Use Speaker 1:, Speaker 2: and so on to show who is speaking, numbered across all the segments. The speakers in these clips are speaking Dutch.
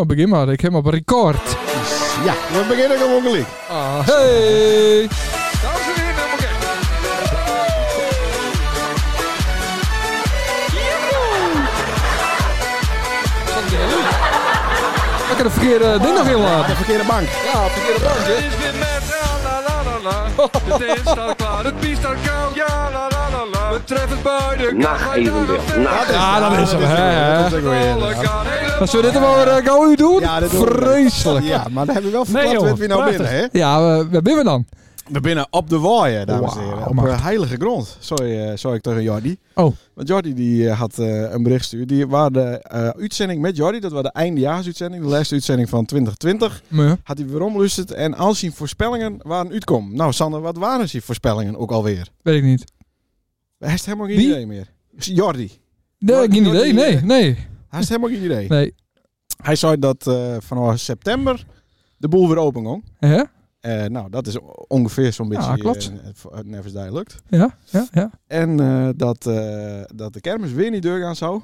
Speaker 1: Oh, begin maar. Ik heb op een record.
Speaker 2: Ja, we beginnen gewoon gelijk.
Speaker 1: Ah, hey. Dames en heren, helemaal gek. Wat een hele leuk. Lekker de verkeerde ding nog in
Speaker 2: Aan de
Speaker 1: laten.
Speaker 2: verkeerde bank.
Speaker 1: Ja, verkeerde bandje.
Speaker 3: is weer met la la la la. De teen staat klaar, het bier staat koud. Ja la la la la. We treffen buiten.
Speaker 4: Nacht evenbeeld. Nacht.
Speaker 1: Ja, dat is hem, hè,
Speaker 2: Dat is ook weer, inderdaad.
Speaker 3: Als
Speaker 1: Als we dit maar uh, gauw u doen,
Speaker 2: Ja, dit doen we.
Speaker 1: vreselijk. Ja,
Speaker 2: Ja, maar dan hebben we wel
Speaker 5: Nee,
Speaker 2: verklapt
Speaker 5: joh,
Speaker 2: wat we nou
Speaker 5: prachtig.
Speaker 2: binnen, hè?
Speaker 1: we, we binnen dan.
Speaker 2: We binnen op de waaien, dames en
Speaker 1: Wauw,
Speaker 2: heren. Op
Speaker 1: macht.
Speaker 2: eh, heilige grond, sorry, eh, sorry ik tegen Jordi.
Speaker 1: Oh.
Speaker 2: Want Jordi die eh, had eh, een bericht gestuurd. Die waren de eh, uitzending met Jordi, dat was de eindejaarsuitzending, de laatste uitzending van 2020.
Speaker 1: Ja.
Speaker 2: Had hij weer omgeluisterd en al zijn voorspellingen waren uitkom. Nou Sander, wat waren zijn voorspellingen ook alweer?
Speaker 1: Weet ik niet.
Speaker 2: Hij heeft helemaal geen
Speaker 1: Wie?
Speaker 2: idee meer. Jordi.
Speaker 1: Nee,
Speaker 2: Nooit-
Speaker 1: geen
Speaker 2: nooit
Speaker 1: idee.
Speaker 2: een idee.
Speaker 1: Nee, nee.
Speaker 2: Hij heeft helemaal geen idee.
Speaker 1: Nee.
Speaker 2: Hij zei dat eh, vanaf september de boel weer open ging.
Speaker 1: Hè?
Speaker 2: Eh, nou, dat is o- ongeveer zo'n beetje
Speaker 1: Ja, klopt.
Speaker 2: eh, voor- uit Nevis Dij lukt.
Speaker 1: Ja, ja, ja.
Speaker 2: En eh, dat, eh, dat de kermis weer niet deur gaan zou.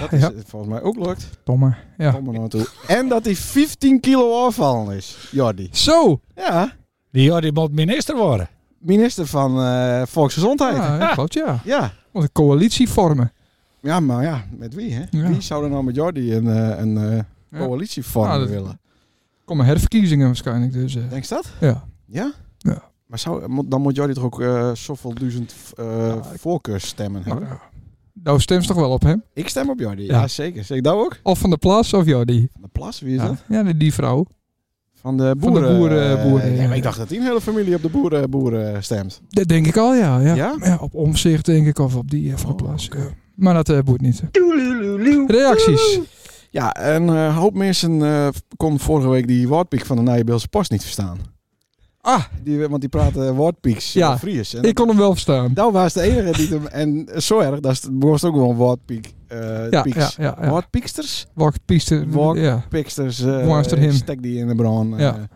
Speaker 2: Dat is
Speaker 1: Ja.
Speaker 2: eh, volgens mij ook lukt.
Speaker 1: Domme. Ja.
Speaker 2: Kom er nou toe. En dat hij 15 kilo afvallen is, Jordi.
Speaker 1: Zo.
Speaker 2: Ja,
Speaker 5: Die Jordi moet minister worden.
Speaker 2: minister van eh, Volksgezondheid. Ja.
Speaker 1: Ja, ja, klopt, ja.
Speaker 2: ja.
Speaker 1: Want een coalitie vormen.
Speaker 2: maar ja, met wie hè?
Speaker 1: Ja.
Speaker 2: Wie zou er nou met Jordi een, eh, een eh,
Speaker 1: Ja.
Speaker 2: coalitie vormen
Speaker 1: Ja, dat-
Speaker 2: willen?
Speaker 1: Komen herverkiezingen waarschijnlijk. Dus, eh,
Speaker 2: Denk je dat?
Speaker 1: ja.
Speaker 2: Ja?
Speaker 1: Ja.
Speaker 2: Maar zou, moet- dan moet Jordi toch ook eh zoveel duizend eh voorkeursstemmen
Speaker 1: Nou,
Speaker 2: hebben?
Speaker 1: ja. Nou, stemt toch wel op hem?
Speaker 2: Ik stem op Jordi. Ja,
Speaker 1: Ja.
Speaker 2: zeker. Zeg ik dat ook?
Speaker 1: Of Van der Plas of Jordi?
Speaker 2: De Plas, wie is
Speaker 1: Ja,
Speaker 2: dat?
Speaker 1: ja die, die vrouw.
Speaker 2: Van de
Speaker 1: Van de
Speaker 2: boeren.
Speaker 1: boeren-
Speaker 2: eh,
Speaker 1: boeren,
Speaker 2: ja,
Speaker 1: ja.
Speaker 2: maar ik dacht dat die een hele familie op de boeren, boeren stemt.
Speaker 1: Dat denk ik al, ja. Ja?
Speaker 2: Ja?
Speaker 1: Ja, op omzicht denk ik of op die eh, Van der
Speaker 2: Oh,
Speaker 1: Plas.
Speaker 2: oké.
Speaker 1: ja. Maar dat eh boeit niet. Reacties.
Speaker 2: Ja, en eh, een hoop mensen eh kon vorige week die woordpiek van de Nijenbeelse Post niet verstaan.
Speaker 1: Ah,
Speaker 2: Die, want die praten woordpieks
Speaker 1: Ja,
Speaker 2: ja. Fries. En
Speaker 1: ik kon hem wel verstaan.
Speaker 2: dat was de enige die hem... En zo erg, dat is moest ook gewoon woordpiek. eh
Speaker 1: Ja,
Speaker 2: pieks.
Speaker 1: ja, ja. ja.
Speaker 2: Woordpieksters?
Speaker 1: Walkpiste.
Speaker 2: Walk-
Speaker 1: Ja.
Speaker 2: Piksters. eh,
Speaker 1: Waar is er heen?
Speaker 2: Stek die in de bron. eh.
Speaker 1: Ja.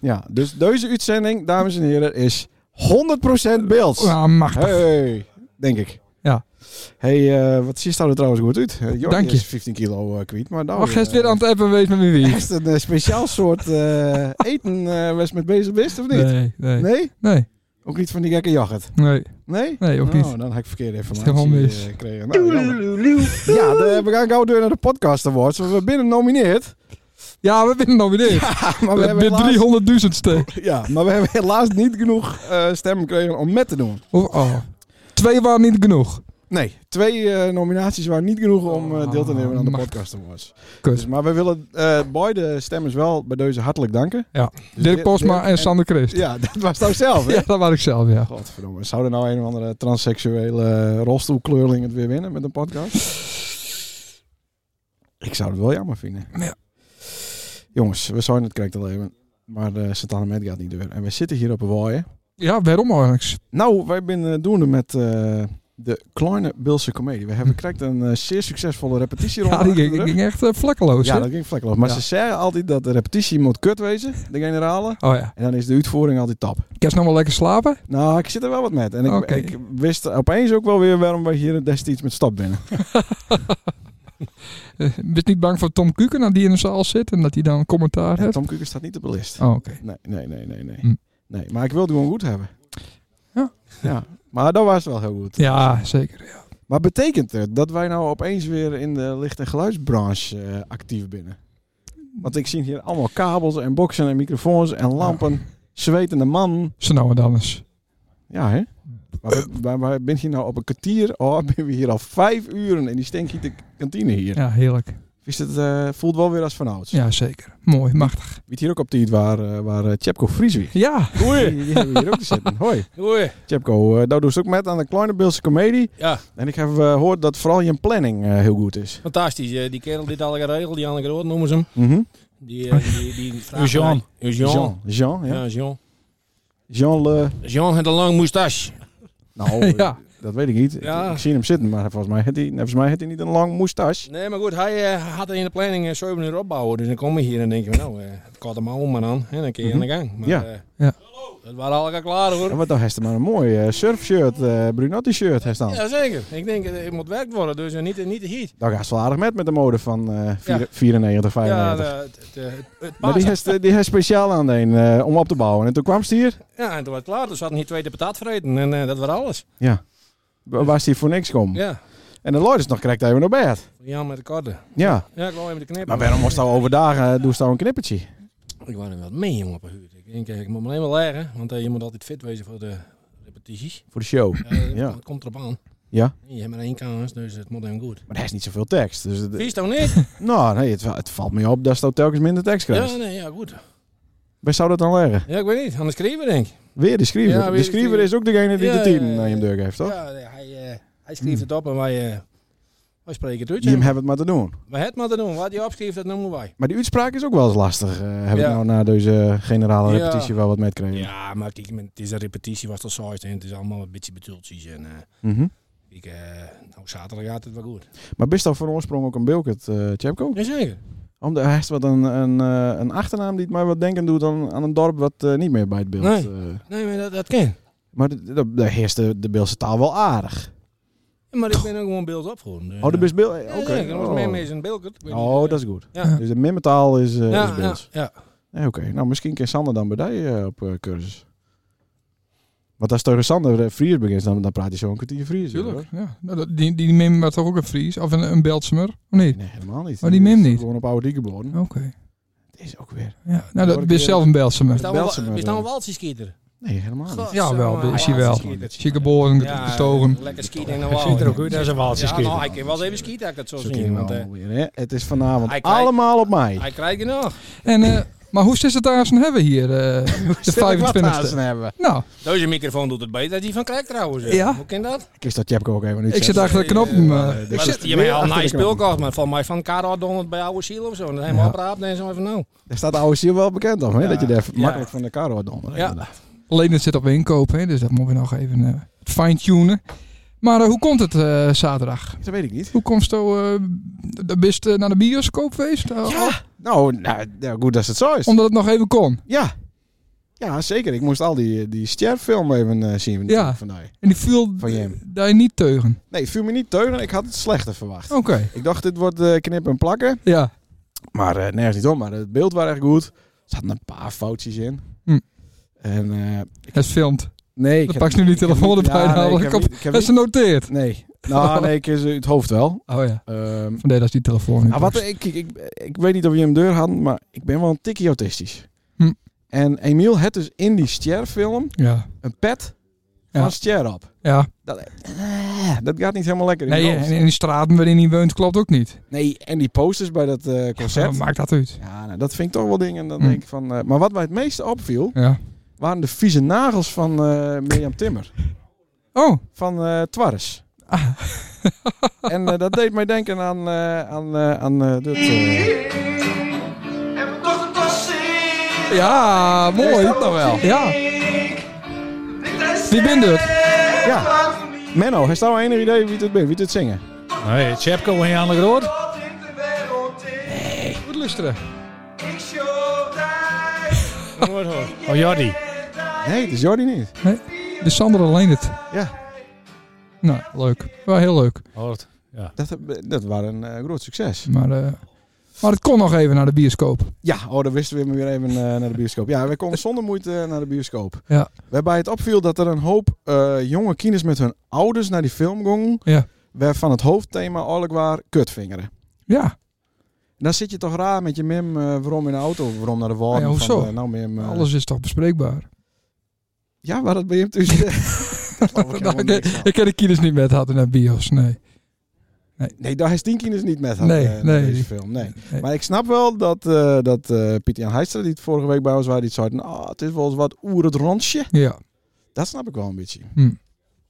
Speaker 2: ja, dus deze uitzending, dames en heren, is 100% beeld.
Speaker 1: Ah, machtig.
Speaker 2: Hey, denk ik.
Speaker 1: Ja.
Speaker 2: Hey, eh, wat zie je er trouwens goed uit? Eh, Jordi
Speaker 1: Dank je.
Speaker 2: is 15 kilo eh kwiet, maar nou...
Speaker 1: Mag gisteren
Speaker 2: eh,
Speaker 1: weer aan het appen wees met mijn wie?
Speaker 2: Is het een eh, speciaal soort eh, eten eh, was met bezig bent, of niet?
Speaker 1: Nee, nee.
Speaker 2: Nee?
Speaker 1: Nee,
Speaker 2: Ook niet van die gekke jacht.
Speaker 1: nee.
Speaker 2: Nee?
Speaker 1: Nee, ook
Speaker 2: Nou,
Speaker 1: niet.
Speaker 2: dan heb ik verkeerde
Speaker 1: helemaal
Speaker 2: informatie
Speaker 1: mis.
Speaker 2: eh, gekregen. Nou, jammer. ja, de- we gaan gauw door naar de podcast awards. want We binnen nomineerd.
Speaker 1: Ja, we winnen nog weer dit.
Speaker 2: Maar we,
Speaker 1: We
Speaker 2: hebben helaas,
Speaker 1: hebben 300.000ste.
Speaker 2: ja, maar we hebben helaas niet genoeg eh, stemmen gekregen om met te doen.
Speaker 1: Of- Oh. Twee waren niet genoeg.
Speaker 2: Nee, twee eh, nominaties waren niet genoeg om eh, deel te nemen aan de
Speaker 1: Ah,
Speaker 2: podcast awards.
Speaker 1: Kut.
Speaker 2: Dus, maar we willen eh, beide stemmers wel bij deze hartelijk danken.
Speaker 1: Ja.
Speaker 2: Dus
Speaker 1: Dirk Posma
Speaker 2: Dirk
Speaker 1: en Sander Christ.
Speaker 2: Ja, dat was nou zelf, hè?
Speaker 1: Ja, dat was ik zelf, ja.
Speaker 2: Godverdomme. Zou er nou een of andere transseksuele eh, rolstoelkleurling het weer winnen met een podcast? Ik zou het wel jammer vinden.
Speaker 1: Ja.
Speaker 2: Jongens, we zijn het correcte leven. Maar eh Santana Met gaat niet door. En we zitten hier op een waaien.
Speaker 1: Ja, waarom eigenlijk?
Speaker 2: Nou, wij zijn eh, doende met eh, de Kleine Bilse Comedie. We hebben correct een eh, zeer succesvolle repetitieronde.
Speaker 1: Hm. Ja, die
Speaker 2: achter de
Speaker 1: ging,
Speaker 2: rug.
Speaker 1: ging echt eh, vlakkeloos,
Speaker 2: ja
Speaker 1: hè?
Speaker 2: dat ging vlekkeloos. Maar
Speaker 1: Ja.
Speaker 2: ze zeggen altijd dat de repetitie moet kut wezen, de generale.
Speaker 1: Oh ja.
Speaker 2: En dan is de uitvoering altijd tap.
Speaker 1: Kerst nog wel lekker slapen?
Speaker 2: Nou, ik zit er wel wat met. En ik,
Speaker 1: Oké.
Speaker 2: ik wist opeens ook wel weer waarom we hier destijds met stap binnen.
Speaker 1: Eh, Bist niet bang voor Tom Kuken dat die in de zaal zit en dat hij dan een commentaar
Speaker 2: En
Speaker 1: heeft?
Speaker 2: Tom Kuker staat niet op de lijst.
Speaker 1: Oh, oké.
Speaker 2: Nee, nee, nee, nee. Nee.
Speaker 1: Hm.
Speaker 2: nee maar ik wilde het gewoon goed hebben.
Speaker 1: Ja.
Speaker 2: ja. Maar dat was wel heel goed.
Speaker 1: Ja, zeker. ja.
Speaker 2: Maar betekent het dat wij nou opeens weer in de licht- en geluidsbranche eh, actief binnen? Want ik zie hier allemaal kabels en boksen en microfoons en lampen. Zwetende man.
Speaker 1: Zo nou en dan eens.
Speaker 2: Ja, hè? Maar we- maar maar ben je nou op een kwartier? Oh, ben we hier al vijf uren in die stinkhiete kantine hier.
Speaker 1: Ja, heerlijk.
Speaker 2: Is het, eh, voelt wel weer als vanouds.
Speaker 1: Ja, zeker. Mooi, machtig.
Speaker 2: Weet hier ook op tijd waar, eh, waar eh, Tjepko Fries weer.
Speaker 1: Ja.
Speaker 2: Die, die hebben we hier ook te zitten. Hoi.
Speaker 5: Oei.
Speaker 2: Tjepko, eh daar doe je ook met aan de Kleine Beelse Comedie.
Speaker 6: Ja.
Speaker 2: En ik heb eh, gehoord dat vooral je planning eh, heel goed is.
Speaker 6: Fantastisch, eh, die kerel die het al geregeld, die Anne Groot noemen ze hem.
Speaker 2: Mhm.
Speaker 6: Die, eh, die, die vraagt
Speaker 5: Jean.
Speaker 6: mij- Eh, Jean.
Speaker 2: Jean. Jean, ja.
Speaker 6: Ja, Jean.
Speaker 2: Jean Le...
Speaker 6: Jean had een lang moustache.
Speaker 2: Nou, eh,
Speaker 1: Ja.
Speaker 2: dat weet ik niet. Ik-
Speaker 6: Ja.
Speaker 2: Ik, zie hem zitten, maar volgens mij heeft hij, volgens mij heeft hij niet een lang moustache.
Speaker 6: Nee, maar goed, hij eh, had in de planning eh, 7 uur opbouwen. Dus dan kom je hier en denk je, nou, eh, het gaat hem allemaal maar aan. En dan kun je aan de gang.
Speaker 2: Mhm.
Speaker 6: Maar,
Speaker 2: Ja.
Speaker 6: eh,
Speaker 1: Ja.
Speaker 6: Het waren al klaar hoor.
Speaker 2: Ja, maar dan heeft hij maar een mooi eh, surfshirt, eh, Brunotti-shirt heeft dan.
Speaker 6: Jazeker. Ik denk, eh, het moet werk worden, dus eh, niet, niet de heat.
Speaker 2: Daar gaat ze wel aardig met met de mode van eh, vier- 94, 95.
Speaker 6: Ja, de- het, het, eh, het- het
Speaker 2: maar die
Speaker 6: paas-
Speaker 2: heeft, eh, die heeft speciaal aan de een eh, om op te bouwen. En toen kwam ze hier.
Speaker 6: ja, en toen was het klaar. Dus we hadden hier tweede patat vreten en eh, dat was alles.
Speaker 2: Ja. Wa- Waar ze hier voor niks kom.
Speaker 6: Ja,
Speaker 2: En de Lloyders nog krijgt even naar bed.
Speaker 6: Jan met de korte.
Speaker 2: Ja.
Speaker 6: Ja, ik wou hem de knippen.
Speaker 2: Maar waarom moest nou overdag doen ze nou een knippertje?
Speaker 6: Ik wou hem wat mee, jongen, op een huur. Ik denk, eh, ik moet me alleen maar leggen, want eh, je moet altijd fit wezen voor de repetities.
Speaker 2: Voor de show.
Speaker 6: Eh,
Speaker 2: Ja.
Speaker 6: Het komt erop aan.
Speaker 2: Ja.
Speaker 6: Je hebt maar één kans, dus het moet hem goed.
Speaker 2: Maar er is niet zoveel tekst. Dus het,
Speaker 6: Vies toch niet?
Speaker 2: nou, nee, het, het valt me op dat ze nou telkens minder tekst krijgt.
Speaker 6: Ja, nee, ja, goed.
Speaker 2: Waar zou dat dan liggen?
Speaker 6: Ja, ik weet niet. Anders schrijven, denk ik.
Speaker 2: Weer de schrijver.
Speaker 6: Ja, weer
Speaker 2: de
Speaker 6: de
Speaker 2: schrijver
Speaker 6: schrijver.
Speaker 2: is ook degene die
Speaker 6: Ja,
Speaker 2: de team
Speaker 6: ja, ja.
Speaker 2: naar hem deur geeft, toch? Hmm.
Speaker 6: Ja, nee, hij, eh, hij schreef het op en wij, eh, wij spreken het uit.
Speaker 2: Die hem hebben het maar te doen.
Speaker 6: Maar het maar te doen. Wat hij opschreef, dat noemen wij.
Speaker 2: Maar die uitspraak is ook wel eens lastig. eh, heb ik
Speaker 6: Ja.
Speaker 2: nou na deze generale
Speaker 6: Ja.
Speaker 2: repetitie wel wat met gekregen?
Speaker 6: Ja, maar kijk, het is een repetitie, was dat saai en het is allemaal een beetje betultjes. En eh,
Speaker 2: Mhm.
Speaker 6: ik, eh, nou, zaterdag gaat het wel goed.
Speaker 2: Maar best al van oorsprong ook een Bilkert, eh Tjepko?
Speaker 6: Jazeker.
Speaker 2: Omdat hij heeft wat een, een, eh, een achternaam die het mij wat denken doet aan, aan een dorp wat eh, niet meer bij het beeld.
Speaker 6: Nee.
Speaker 2: eh.
Speaker 6: Nee, maar dat, dat kan.
Speaker 2: maar d- d- daar heerst de, de Beelse taal wel aardig.
Speaker 6: Ja, maar ik ben ook gewoon beeld opgewoond. Dus,
Speaker 2: Oh, de
Speaker 6: eh,
Speaker 2: Beels... Bil- eh,
Speaker 6: Ja,
Speaker 2: Oké.
Speaker 6: zeker. Er was
Speaker 2: Oh.
Speaker 6: meer mee zijn Bilkert. Ik weet niet,
Speaker 2: Oh,
Speaker 6: eh,
Speaker 2: dat is goed.
Speaker 6: Ja.
Speaker 2: Dus de mimmetaal is, eh is
Speaker 6: Ja, ja,
Speaker 2: Beels.
Speaker 6: ja.
Speaker 2: Eh, Oké, nou misschien kan Sander dan bij die eh, op eh, cursus. Want als tegen Sander eh, Fries begint, dan, dan praat hij zo een kwartier Fries. hoor.
Speaker 1: Tuurlijk. Ja. Nou, dat- die, die mim was toch ook een Fries? Of een, een Beltsemer? Of niet?
Speaker 2: Nee, helemaal niet.
Speaker 1: Oh, die mim
Speaker 2: is
Speaker 1: niet? Oh.
Speaker 2: Gewoon op oude Diekenborden.
Speaker 1: Oké.
Speaker 2: Het is ook weer...
Speaker 1: Ja. Nou,
Speaker 2: word
Speaker 1: dat
Speaker 2: ik
Speaker 1: ben
Speaker 2: weer-
Speaker 1: zelf een Belsemer.
Speaker 6: Is dat wel-
Speaker 2: Belsemer,
Speaker 6: Is dat
Speaker 2: eh.
Speaker 6: een Walsie-skieter?
Speaker 2: Nee, helemaal niet.
Speaker 1: Ja, wel,
Speaker 6: Godzame, eh,
Speaker 1: is hij wel.
Speaker 6: Walsie-skieter.
Speaker 1: Zie geboren, gestogen.
Speaker 6: Lekker skieten in de
Speaker 5: Dat
Speaker 6: wal.
Speaker 5: ziet er ook uit als een Waalse
Speaker 6: Ja, nou,
Speaker 5: skipper.
Speaker 6: ik kan wel eens even skieten, als ik dat zo
Speaker 2: Zo kunnen
Speaker 6: zie.
Speaker 2: we
Speaker 6: Want eh,
Speaker 2: alweer, hè. Het is vanavond
Speaker 6: Hij krijgt-
Speaker 2: allemaal op mij.
Speaker 6: hij krijgt genoeg.
Speaker 1: En, eh, maar hoe zit het daar als een hebben hier? eh, de 25e.
Speaker 2: hebben.
Speaker 1: Nou,
Speaker 6: Deze microfoon doet het beter dan die van Krijk trouwens. eh.
Speaker 1: Ja?
Speaker 6: Hoe kan dat?
Speaker 2: Ik is dat Jepko ook even niet.
Speaker 1: ik zit achter de knop.
Speaker 2: eh,
Speaker 1: maar-
Speaker 6: Ik zit hier met al een nice spul kocht, maar van mij van Karel Donald bij oude ziel of zo. En dan helemaal opraapt en zo van nou.
Speaker 2: Daar staat de oude ziel wel bekend om, hè?
Speaker 6: Ja.
Speaker 2: Dat je daar
Speaker 6: Ja.
Speaker 2: makkelijk van de kar wordt donderen.
Speaker 6: Ja.
Speaker 2: inderdaad.
Speaker 1: Alleen het zit op inkoop, hè, dus dat moeten we nog even eh fine-tunen. Maar eh, hoe komt het eh, zaterdag?
Speaker 2: Dat weet ik niet.
Speaker 1: Hoe komt het zo, eh, dat best eh, naar de bioscoop geweest? Eh, al-
Speaker 2: Nou, nou ja, goed dat het zo is.
Speaker 1: Omdat het nog even kon.
Speaker 2: Ja. Ja, zeker. Ik moest al die, die sterffilm even eh, zien
Speaker 1: Ja.
Speaker 2: vandaag.
Speaker 1: En die viel
Speaker 2: Van Jem.
Speaker 1: daar niet teugen.
Speaker 2: Nee, het viel me niet teugen. Ik had het slechter verwacht.
Speaker 1: Oké,
Speaker 2: Ik dacht, dit wordt eh knippen en plakken.
Speaker 1: ja.
Speaker 2: Maar eh, nergens niet om. Maar het beeld was echt goed. Er zaten een paar foutjes in.
Speaker 1: Hm.
Speaker 2: En eh,
Speaker 1: Het filmt.
Speaker 2: Nee, ik
Speaker 1: Dan
Speaker 2: heb
Speaker 1: pak je nu die
Speaker 2: ik heb
Speaker 1: telefoon
Speaker 2: niet-
Speaker 1: erbij en
Speaker 2: Ja, nee,
Speaker 1: haal
Speaker 2: ik
Speaker 1: ik
Speaker 2: heb
Speaker 1: op.
Speaker 2: niet- ik heb
Speaker 1: Dat is Oh.
Speaker 2: niet-
Speaker 1: genoteerd.
Speaker 2: Nee, nou, nee, ik is het hoofd wel.
Speaker 1: Oh ja,
Speaker 2: Ehm,
Speaker 1: vandaar dat is die telefoon.
Speaker 2: nou, wat, ik, ik, ik, ik weet niet of je hem deur had, maar ik ben wel een tikkie autistisch.
Speaker 1: Hm.
Speaker 2: En Emiel had dus in die Ster-film
Speaker 1: Ja,
Speaker 2: een pet
Speaker 1: Ja.
Speaker 2: van Ster op.
Speaker 1: ja.
Speaker 2: Eh, dat gaat niet helemaal lekker in
Speaker 1: Nee,
Speaker 2: mijn hoofd.
Speaker 1: en in die straten waarin hij woont klopt ook niet.
Speaker 2: Nee, en die posters bij dat eh, concert.
Speaker 1: Maar maakt dat uit?
Speaker 2: Ja, nou, dat vind ik toch wel dingen. En dan
Speaker 1: Hm.
Speaker 2: denk ik van, eh, maar wat mij het meeste opviel,
Speaker 1: Ja.
Speaker 2: waren de vieze nagels van eh, Mirjam Timmer.
Speaker 1: Oh,
Speaker 2: Van eh Twarres.
Speaker 1: ah,
Speaker 2: En eh, dat deed mij denken aan, eh, aan, eh, aan eh, dit. eh.
Speaker 1: ja, mooi.
Speaker 2: Is dat nou wel?
Speaker 1: Ja. Wie bent het?
Speaker 2: ja. Menno, heeft nou enig idee wie dit bent? Wie dit zingen?
Speaker 5: Nee, Tjepko en Jan de Groot.
Speaker 1: Goed luisteren.
Speaker 5: Oh, Jordi.
Speaker 2: Nee, het is Jordi niet.
Speaker 1: De dus Sander alleen het.
Speaker 2: Ja,
Speaker 1: Nou, leuk. Wel heel leuk.
Speaker 5: Hoort. Ja.
Speaker 2: dat, dat was een eh, groot succes.
Speaker 1: Maar, eh, maar het kon nog even naar de bioscoop.
Speaker 2: Ja, oh, dan wisten we hem weer even eh, naar de bioscoop. Ja, we konden zonder moeite eh, naar de bioscoop.
Speaker 1: Ja.
Speaker 2: Waarbij het opviel dat er een hoop eh, jonge kinders met hun ouders naar die film gingen.
Speaker 1: Ja.
Speaker 2: Waarvan het hoofdthema oorlijk waar kutvingeren.
Speaker 1: Ja,
Speaker 2: En dan zit je toch raar met je mem eh, waarom in de auto, waarom naar de wal.
Speaker 1: Ja, hoezo?
Speaker 2: nou, mem, eh,
Speaker 1: alles is toch bespreekbaar.
Speaker 2: Ja, maar dat ben je hem tussen. dat geloof ik
Speaker 1: Nou,
Speaker 2: helemaal
Speaker 1: ik,
Speaker 2: niks van.
Speaker 1: ik heb de kielers niet met hadden naar bios, nee.
Speaker 2: Nee, daar is Tinkin dus niet met haar
Speaker 1: Nee,
Speaker 2: eh,
Speaker 1: nee.
Speaker 2: deze film. Nee.
Speaker 1: Nee.
Speaker 2: Maar ik snap wel dat, eh dat eh Pieter Jan Heijstra, die het vorige week bij ons was, die zei, nou, het is wel eens wat oer het rondje.
Speaker 1: Ja,
Speaker 2: Dat snap ik wel een beetje.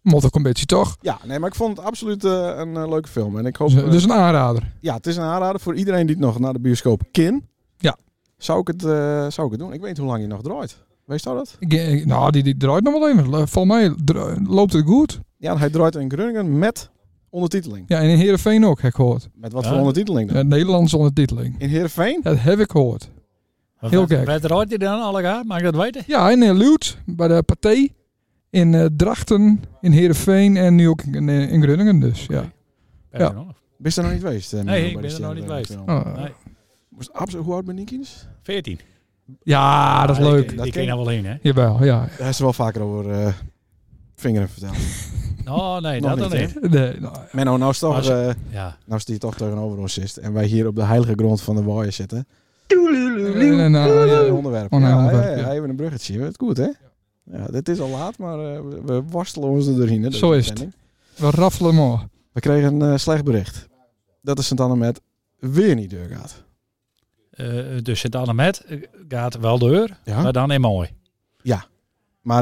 Speaker 1: moet ook een beetje toch?
Speaker 2: Ja, nee, maar ik vond het absoluut eh, een eh, leuke film. En ik hoop,
Speaker 1: Dus,
Speaker 2: eh,
Speaker 1: dus een aanrader.
Speaker 2: ja, het is een aanrader voor iedereen die het nog naar de bioscoop kin.
Speaker 1: Ja.
Speaker 2: Zou ik het, eh, zou ik het doen? Ik weet niet hoe lang je nog draait. Weet je dat?
Speaker 1: Ik- ik- nou, die, die draait nog wel even. Volgens mij dra- loopt het goed.
Speaker 2: Ja, hij draait in Groningen met ondertiteling.
Speaker 1: Ja, en in Heerenveen ook, heb ik gehoord.
Speaker 2: Met wat
Speaker 5: Ja.
Speaker 2: voor ondertiteling dan?
Speaker 1: Een Nederlandse ondertiteling.
Speaker 2: In Heerenveen?
Speaker 1: Dat heb ik gehoord. Heel gek.
Speaker 5: Wat rooit hij dan alle gaat? Mag ik dat weten?
Speaker 1: Ja, in eh, Luut, bij de Pathé. In eh, Drachten, in Heerenveen en nu ook in, eh, in Groningen dus. Ja.
Speaker 5: Weet ik nog.
Speaker 2: Bist er nog niet geweest? eh, Menno,
Speaker 5: ik
Speaker 2: bij
Speaker 5: ben
Speaker 2: de
Speaker 5: er nog niet
Speaker 2: Sterren-
Speaker 5: geweest.
Speaker 2: Film?
Speaker 1: Oh.
Speaker 5: Nee,
Speaker 2: Moest absoluut hoe oud ben ik eens?
Speaker 5: 14.
Speaker 1: ja, dat is
Speaker 5: Ah,
Speaker 1: leuk.
Speaker 5: Ik,
Speaker 2: Dat
Speaker 5: ik
Speaker 2: ken
Speaker 5: ging daar wel heen, hè?
Speaker 1: Jawel, ja.
Speaker 2: Daar is er wel vaker over eh vingeren verteld.
Speaker 5: Oh, nee,
Speaker 2: Nog
Speaker 5: dat dan
Speaker 2: niet,
Speaker 5: niet.
Speaker 1: Nee, nou,
Speaker 2: Menno, nou is, toch,
Speaker 5: Maar ze-
Speaker 2: eh,
Speaker 5: Ja.
Speaker 2: nou is die toch tegenover ons zit en wij hier op de heilige grond van de waaien zitten.
Speaker 1: eh, nou,
Speaker 2: Een
Speaker 1: ja.
Speaker 2: onderwerp.
Speaker 1: Oh, nee,
Speaker 2: ja,
Speaker 1: onderwerp,
Speaker 2: ja, ja,
Speaker 1: ja.
Speaker 2: even een bruggetje. Het goed, hè? Ja, dit is al laat, maar eh, we- we worstelen ons er doorheen. hè, deze
Speaker 1: Zo is het.
Speaker 2: uitzending.
Speaker 1: we raffelen maar.
Speaker 2: We kregen een eh, slecht bericht. Dat is sint anne met weer niet deur gaat.
Speaker 5: Eh, dus sint anne met eh, gaat wel deur,
Speaker 2: Ja?
Speaker 5: maar
Speaker 2: Maar,
Speaker 5: dan in mooi.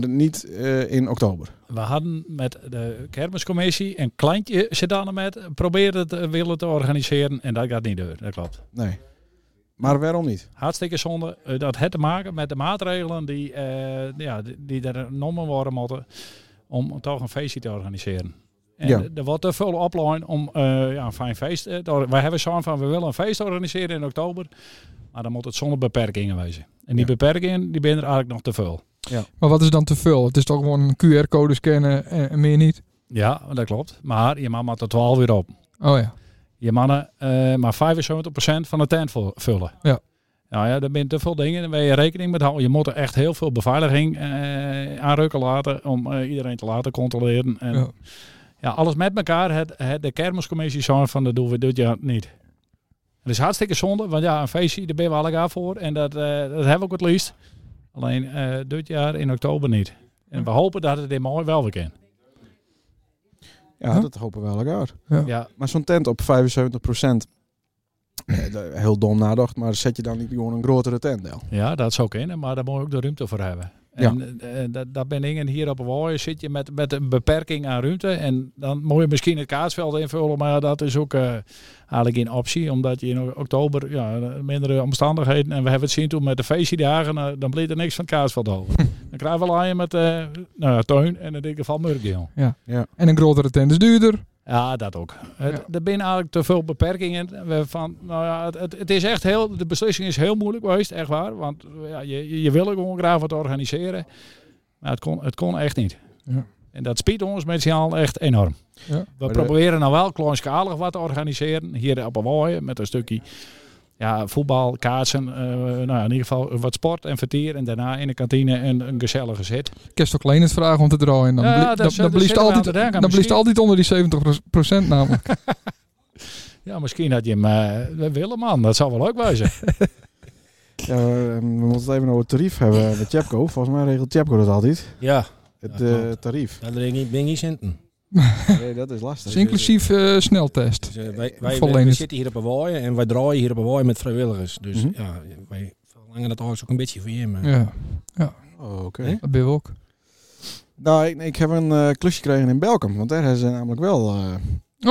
Speaker 2: niet eh, in oktober.
Speaker 5: We hadden met de kermiscommissie een kleintje sint anne met probeerde het eh, willen te organiseren en dat gaat niet deur. Dat klopt.
Speaker 2: Nee. Maar waarom niet?
Speaker 5: Hartstikke zonde. eh, dat had te maken met de maatregelen die, eh, ja, die, die er genomen worden moeten om toch een feestje te organiseren. En
Speaker 2: Ja.
Speaker 5: er wordt te veel opline om eh, ja, een fijn feest. eh, te or- wij hebben zo'n van, we willen een feest organiseren in oktober. Maar dan moet het zonder beperkingen wezen. En die
Speaker 2: Ja.
Speaker 5: beperkingen, die zijn er eigenlijk nog te veel.
Speaker 1: Maar wat is dan te veel? Het is toch gewoon een QR-code scannen en, en meer niet?
Speaker 5: Ja, dat klopt. Maar je man moet er 12 uur op.
Speaker 1: Oh ja.
Speaker 5: Je mannen eh, maar 75% van de tent vul- vullen.
Speaker 1: Ja.
Speaker 5: Nou ja, er zijn te veel dingen en waar je rekening mee houden. Je moet er echt heel veel beveiliging eh, aanrukken laten om eh, iedereen te laten controleren. En, ja.
Speaker 1: Ja.
Speaker 5: alles met elkaar. Het, het, de kermiscommissie zei van dat doen we dit jaar niet. Het is hartstikke zonde, want ja, een feestje, daar ben we allemaal voor. En dat, eh, dat hebben we ook het liefst. Alleen eh, dit jaar in oktober niet. En we hopen dat het in mooi wel weer kan.
Speaker 2: Ja,
Speaker 1: Huh?
Speaker 2: dat hopen we elkaar.
Speaker 5: Ja,
Speaker 2: Maar zo'n tent op 75%, eh, de- heel dom nadacht, maar zet je dan niet gewoon een grotere tent deel?
Speaker 5: Ja, dat zou kunnen, maar daar moet je ook de ruimte voor hebben.
Speaker 2: Ja.
Speaker 5: En eh, eh, dat, dat ben ik. En hier op Hawaii zit je met, met een beperking aan ruimte. En dan moet je misschien het kaatsveld invullen. Maar dat is ook eh, eigenlijk geen optie. Omdat je in oktober, ja, mindere omstandigheden. En we hebben het zien toen met de feestdagen. eh, dan bleef er niks van het kaatsveld over. dan krijgen we alleen met eh nou ja, Teun en in dit geval Murgiel.
Speaker 1: En een grotere tent is duurder.
Speaker 5: Ja, dat ook. Het,
Speaker 1: Ja.
Speaker 5: Er zijn eigenlijk te veel beperkingen. We Van, nou ja, het- het, het is echt heel, de beslissing is heel moeilijk geweest, echt waar. Want ja, je, je- je wil ook gewoon graag wat organiseren. Maar het kon, het kon echt niet.
Speaker 1: Ja.
Speaker 5: En dat spiet ons met z'n allen echt enorm.
Speaker 1: Ja.
Speaker 5: We
Speaker 2: de-
Speaker 5: proberen nou wel kleinschalig wat te organiseren. Hier op Hawaii met een stukje ja, voetbal, kaatsen. eh, nou ja, in ieder geval wat sport en vertier. En daarna in de kantine een, een gezellige zit.
Speaker 1: Kerst ook alleen het vragen om te draaien. Dan,
Speaker 5: Ja,
Speaker 1: blie-
Speaker 5: dat
Speaker 1: dan,
Speaker 5: zou-
Speaker 1: dan
Speaker 5: dat
Speaker 1: blieft
Speaker 5: zitten we
Speaker 1: altijd,
Speaker 5: aan te denken,
Speaker 1: dan blieft
Speaker 5: misschien.
Speaker 1: altijd onder die 70% namelijk.
Speaker 5: Ja, misschien had je hem eh, willen, man. Dat zou wel leuk wezen.
Speaker 2: Ja, we, eh, we moeten het even over het tarief hebben eh, met Chapco. Volgens mij regelt Chapco dat altijd.
Speaker 6: Ja,
Speaker 2: Het
Speaker 6: Ja, klopt.
Speaker 2: eh, tarief.
Speaker 6: dat ding niet Bingy Centen.
Speaker 2: Nee, dat is lastig.
Speaker 1: Dus inclusief eh, sneltest.
Speaker 6: Dus, eh, wij wij, wij,
Speaker 1: Volledig.
Speaker 6: wij zitten hier op Hawaii en wij draaien hier op Hawaii met vrijwilligers. Dus
Speaker 2: Mhm.
Speaker 6: ja, wij verlangen dat eigenlijk ook een beetje van je. Maar...
Speaker 1: Ja,
Speaker 2: Oh, Oké.
Speaker 1: dat ben we ook.
Speaker 2: Nou, ik, ik heb een eh, klusje gekregen in Belkom. Want daar hebben ze namelijk wel... eh,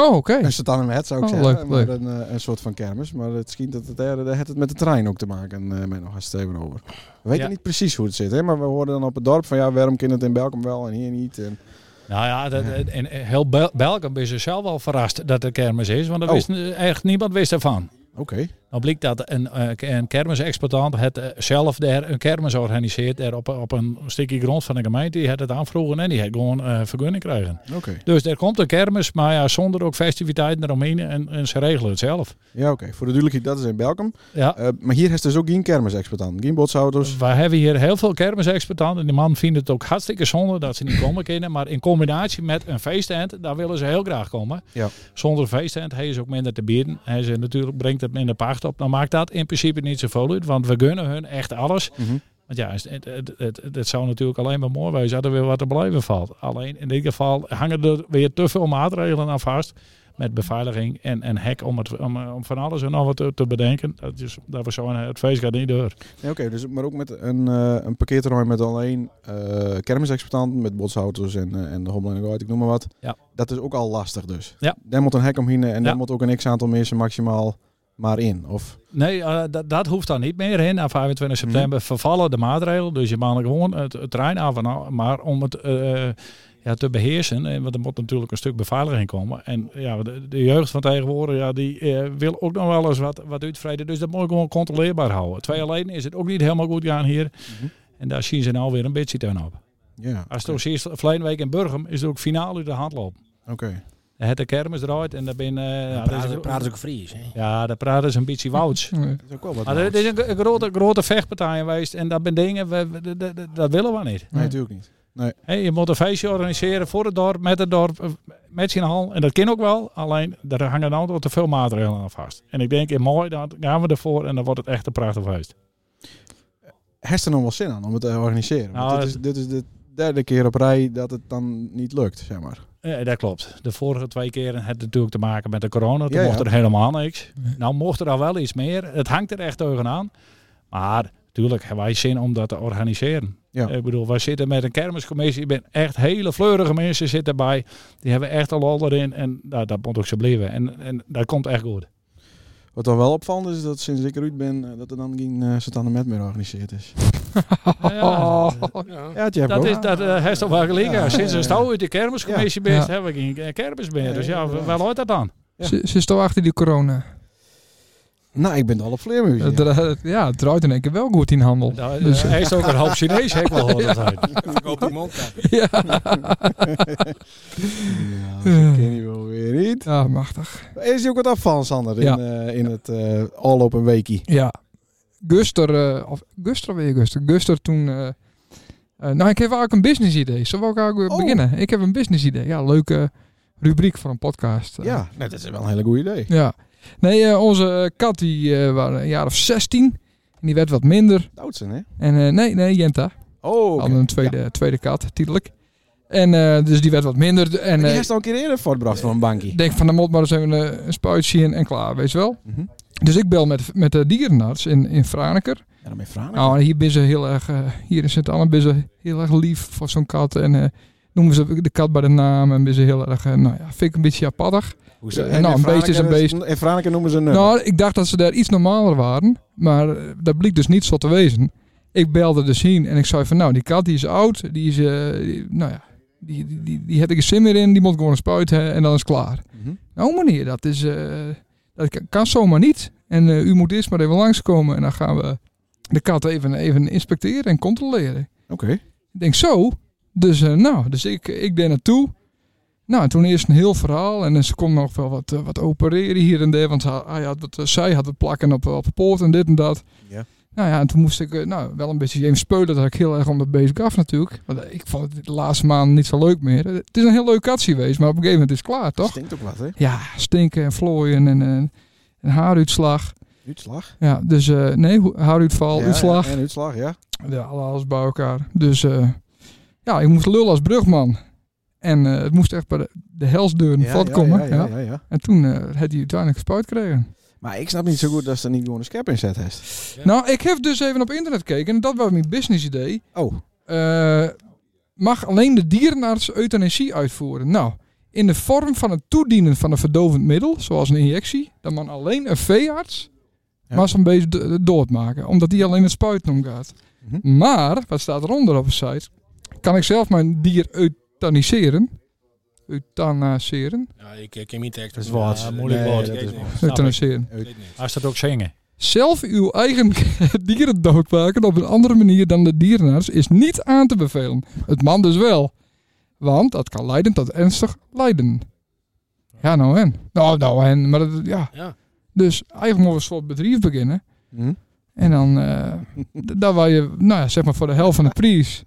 Speaker 1: Oh, oké.
Speaker 2: Een satane met zou ik
Speaker 1: Oh,
Speaker 2: zeggen.
Speaker 1: leuk,
Speaker 2: maar
Speaker 1: leuk.
Speaker 2: Een, eh, een soort van kermis. Maar het schijnt dat het, daar, daar heeft het met de trein ook te maken. eh, En nog eens even over. We weten
Speaker 5: Ja.
Speaker 2: niet precies hoe het zit. Hè? Maar we hoorden dan op het dorp van ja, waarom kan het in Belkom wel en hier niet. En,
Speaker 5: Nou ja, dat, en eh, heel Bel- Belgium is er zelf al verrast dat er kermis is, want er
Speaker 2: Oh.
Speaker 5: wist echt niemand wist ervan.
Speaker 2: Oké.
Speaker 5: Dan blijkt dat een, eh, k- een kermisexploitant het eh, zelf daar een kermis organiseert daar op, op een stukje grond van de gemeente. Die had het aanvroegen en die had gewoon eh, vergunning krijgen.
Speaker 2: Oké.
Speaker 5: Dus er komt een kermis, maar ja, zonder ook festiviteiten eromheen en, en ze regelen het zelf.
Speaker 2: Ja, oké. Voor de duidelijkheid, dat is in Belkom.
Speaker 5: Ja.
Speaker 2: Eh, dus- maar hier is dus ook geen kermisexploitant. Geen botsauto's.
Speaker 5: We hebben hier heel veel kermisexploitanten. Die man vindt het ook hartstikke zonde dat ze niet komen kunnen. Maar in combinatie met een feestend, daar willen ze heel graag komen.
Speaker 2: Ja.
Speaker 5: Zonder een feestend hij is ook minder te bieden. Hij ze natuurlijk brengt het minder pacht op. Dan maakt dat in principe niet zoveel uit. Want we gunnen hun echt alles.
Speaker 2: Mhm.
Speaker 5: Want ja, het, het, het, het zou natuurlijk alleen maar mooi zijn dat er weer wat te blijven valt. Alleen in dit geval hangen er weer te veel maatregelen aan vast. Met beveiliging en, en hek om, het, om, eh, om van alles en nog wat te, te bedenken. Dat, is, dat we zo het feest gaat niet door.
Speaker 2: Ja, oké. dus, maar ook met een, eh, een parkeerterrein met alleen eh kermisexploitanten. Met botsauto's en, eh, en de hobbel en de Goit, ik noem maar wat.
Speaker 5: Ja.
Speaker 2: Dat is ook al lastig dus.
Speaker 5: Ja.
Speaker 2: Daar moet een hek omheen eh, en
Speaker 5: Ja.
Speaker 2: daar moet ook een x-aantal mensen maximaal maar in. Of...
Speaker 5: Nee, eh, dat, dat hoeft dan niet meer. Hè. Na 25
Speaker 6: Mhm.
Speaker 5: september vervallen de maatregelen. Dus je mag gewoon het, het trein af en aan. Maar om het, eh, ja, te beheersen. En, want er moet natuurlijk een stuk beveiliging komen. En ja, de, de jeugd van tegenwoordig ja, die, eh, wil ook nog wel eens wat, wat uitvreden. Dus dat moet ik gewoon controleerbaar houden. Twee alleen is het ook niet helemaal goed gaan hier.
Speaker 2: Mhm.
Speaker 5: En daar zien ze nou weer een beetje tegenop. op.
Speaker 2: Ja,
Speaker 5: Als het ook ziet, verleden week in Burgum is het ook finaal uit de hand lopen.
Speaker 2: oké.
Speaker 5: Dan had de kermis eruit en daar ben eh, ja, dat is
Speaker 6: praten,
Speaker 5: een-
Speaker 6: praten ze ook Fries, hè?
Speaker 5: ja, daar praten ze een beetje wouds.
Speaker 1: Nee.
Speaker 2: Dat is ook wel wat.
Speaker 5: Maar er Ah, is een, gro- een grote, grote vechtpartij geweest en dat zijn dingen, we, we- dat- dat- dat willen we niet.
Speaker 2: Nee, natuurlijk niet.
Speaker 5: Hé, je moet een feestje organiseren voor het dorp, met het dorp, eh, met zijn hal. En dat kan ook wel, alleen daar hangen nou nog te veel maatregelen aan vast. En ik denk, eh, mooi, dan gaan we ervoor en dan wordt het echt een prachtig feest.
Speaker 2: Heeft er nog wel zin aan om het te organiseren? Want
Speaker 5: Nou,
Speaker 2: dit, is, dit is de derde keer op rij dat het dan niet lukt, zeg maar.
Speaker 5: Ja, dat klopt. De vorige twee keren had het natuurlijk te maken met de corona. Toen
Speaker 2: Ja, ja.
Speaker 5: mocht er helemaal niks. Nou mocht er al wel iets meer. Het hangt er echt tegenaan. Maar natuurlijk hebben wij zin om dat te organiseren.
Speaker 2: Ja.
Speaker 5: Ik bedoel, wij zitten met een kermiscommissie. Ik ben echt hele fleurige mensen zitten bij. Die hebben echt al al erin. En nou, dat moet ook zo blijven. En, en dat komt echt goed.
Speaker 2: Wat dan wel opvallend is dat sinds ik eruit ben, eh, dat er dan geen uh, Satan Met meer georganiseerd is.
Speaker 1: Oh.
Speaker 5: Ja,
Speaker 6: Ja.
Speaker 2: Ja, Jeff,
Speaker 5: dat
Speaker 2: ook.
Speaker 5: is dat eh, heeft toch wel gelegen.
Speaker 2: Ja,
Speaker 5: Sinds
Speaker 2: ja, ja.
Speaker 5: een stouw uit de kermiscommissie
Speaker 1: Ja.
Speaker 5: bent,
Speaker 1: Ja.
Speaker 5: hebben we geen eh, kermis meer.
Speaker 2: Nee,
Speaker 5: Dus ja,
Speaker 2: inderdaad.
Speaker 5: waar hoort dat dan?
Speaker 2: Ja.
Speaker 1: Ze, ze staan achter die corona.
Speaker 2: Nou, ik ben al op vleermuziek.
Speaker 1: Het dra- Ja, het draait in één keer wel goed in handel.
Speaker 5: Nou,
Speaker 1: Dus-
Speaker 5: eh, hij is ook een half Chinees, heb ik wel gehoord. altijd.
Speaker 6: Verkoop die mondkapjes.
Speaker 1: Ja,
Speaker 2: Ja, dat ken je wel weer niet.
Speaker 1: ja machtig.
Speaker 2: Is je ook wat afvallen, Sander,
Speaker 1: Ja.
Speaker 2: in, eh, in het eh al op een weekie?
Speaker 1: Ja. Guster, eh, of Guster weer Guster. Guster toen... eh, eh, nou, ik heb eigenlijk een business idee. Zo wil ik eigenlijk
Speaker 2: Oh.
Speaker 1: eh, beginnen. Ik heb een business idee. Ja, leuke eh, rubriek voor een podcast. Eh,
Speaker 2: Ja, nou, dat is wel een hele goed idee.
Speaker 1: Ja. Nee, eh, onze kat die eh was een jaar of 16. En die werd wat minder.
Speaker 2: Doudsen, hè?
Speaker 1: En eh, nee, nee, Jenta.
Speaker 2: Oh, oké.
Speaker 1: Hadden een tweede, tweede kat, titelijk. En eh, dus die werd wat minder. En
Speaker 2: die
Speaker 1: eh,
Speaker 2: heeft al een keer eerder voortbracht van een bankie.
Speaker 1: ik denk van, dan moet maar eens even eh, een spuitje en, en klaar, weet je wel.
Speaker 2: Mhm.
Speaker 1: Dus ik bel met, met de dierenarts in, in Franeker.
Speaker 2: Ja, dan ben je vragen.
Speaker 1: Nou, en hier ben ze heel erg, eh, hier in Sint-Anne ben ze heel erg lief voor zo'n kat. En eh, noemen ze de kat bij de naam en ben ze heel erg, eh, nou ja, vind ik een beetje apattig.
Speaker 2: Hoezo?
Speaker 1: eh,
Speaker 2: En
Speaker 1: nou,
Speaker 2: in
Speaker 1: een beest is een
Speaker 2: Franeker In Franeker noemen ze een nummer.
Speaker 1: Nou, ik dacht dat ze daar iets normaler waren, maar eh, dat bleek dus niet zo te wezen. Ik belde dus heen en ik zei van, nou, die kat die is oud, die is, eh, die- nou ja, die, die, die, die heb ik een zin meer in, die moet gewoon een spuit hè, en dan is het klaar.
Speaker 2: Mhm.
Speaker 1: Nou meneer, dat is, eh, dat kan, kan zomaar niet. En eh, u moet eerst maar even langskomen en dan gaan we de kat even, even inspecteren en controleren.
Speaker 2: Oké.
Speaker 1: Ik denk zo. Dus eh, nou, dus ik, ik ben naartoe. Nou, en toen eerst een heel verhaal. En eh, ze kon nog wel wat, eh, wat opereren hier en daar. Want hij hij had wat, eh, zij had wat plakken op, op de poort en dit en dat.
Speaker 2: Ja.
Speaker 1: Nou ja, en toen moest ik eh, nou, wel een beetje even speulen. Dat had ik heel erg om dat beest gaf natuurlijk. Want eh, ik vond het de laatste maanden niet zo leuk meer. Eh, Het is een heel leuk katje geweest, maar op een gegeven moment is het klaar, toch?
Speaker 2: Stinkt ook wat, hè?
Speaker 1: Ja, stinken en vlooien en, eh, en, en haaruitslag.
Speaker 2: Uitslag.
Speaker 1: Ja, dus eh, nee, ho- haaruitval,
Speaker 2: Ja,
Speaker 1: uitslag.
Speaker 2: Ja, en uitslag, ja.
Speaker 1: Ja, alles bij elkaar. Dus eh, ja, ik moest lullen als brugman. En eh, het moest echt bij de, de helsdeur
Speaker 2: ja, ja,
Speaker 1: komen.
Speaker 2: Ja,
Speaker 1: Ja,
Speaker 2: ja, ja, ja.
Speaker 1: En toen eh had hij uiteindelijk gespuit gekregen.
Speaker 2: Maar ik snap niet zo goed dat ze er niet gewoon een schep in zet heeft.
Speaker 6: Ja.
Speaker 1: Nou, ik heb dus even op internet gekeken. En dat was mijn business idee.
Speaker 2: Oh,
Speaker 1: Eh, mag alleen de dierenarts euthanasie uitvoeren? Nou, in de vorm van het toedienen van een verdovend middel, zoals een injectie, dan mag alleen een veearts
Speaker 2: Ja.
Speaker 1: maar zo'n beest do- doodmaken, omdat die alleen het spuiten omgaat.
Speaker 2: Mhm.
Speaker 1: Maar, wat staat eronder op de site? Kan ik zelf mijn dier euthaniseren? Euthanaseren?
Speaker 6: Ja, ik ik ken niet tekst.
Speaker 2: Dat is woord.
Speaker 6: Ja,
Speaker 2: Nee,
Speaker 5: woord.
Speaker 2: dat
Speaker 6: Ik weet
Speaker 2: is
Speaker 6: niks.
Speaker 2: woord.
Speaker 6: Snap ik.
Speaker 1: Euthaniseren.
Speaker 6: Ik weet niks.
Speaker 5: Als dat ook zingen.
Speaker 1: Zelf uw eigen dieren doodmaken op een andere manier dan de dierenarts is niet aan te bevelen. Het man dus wel. Want dat kan leiden tot ernstig lijden. Ja, nou en. Nou, nou en. Maar dat, ja.
Speaker 6: Ja.
Speaker 1: Dus eigenlijk moeten we een soort bedrijf beginnen.
Speaker 2: Hm?
Speaker 1: En dan, eh d- daar waar je, nou ja, zeg maar voor de helft van de prijs,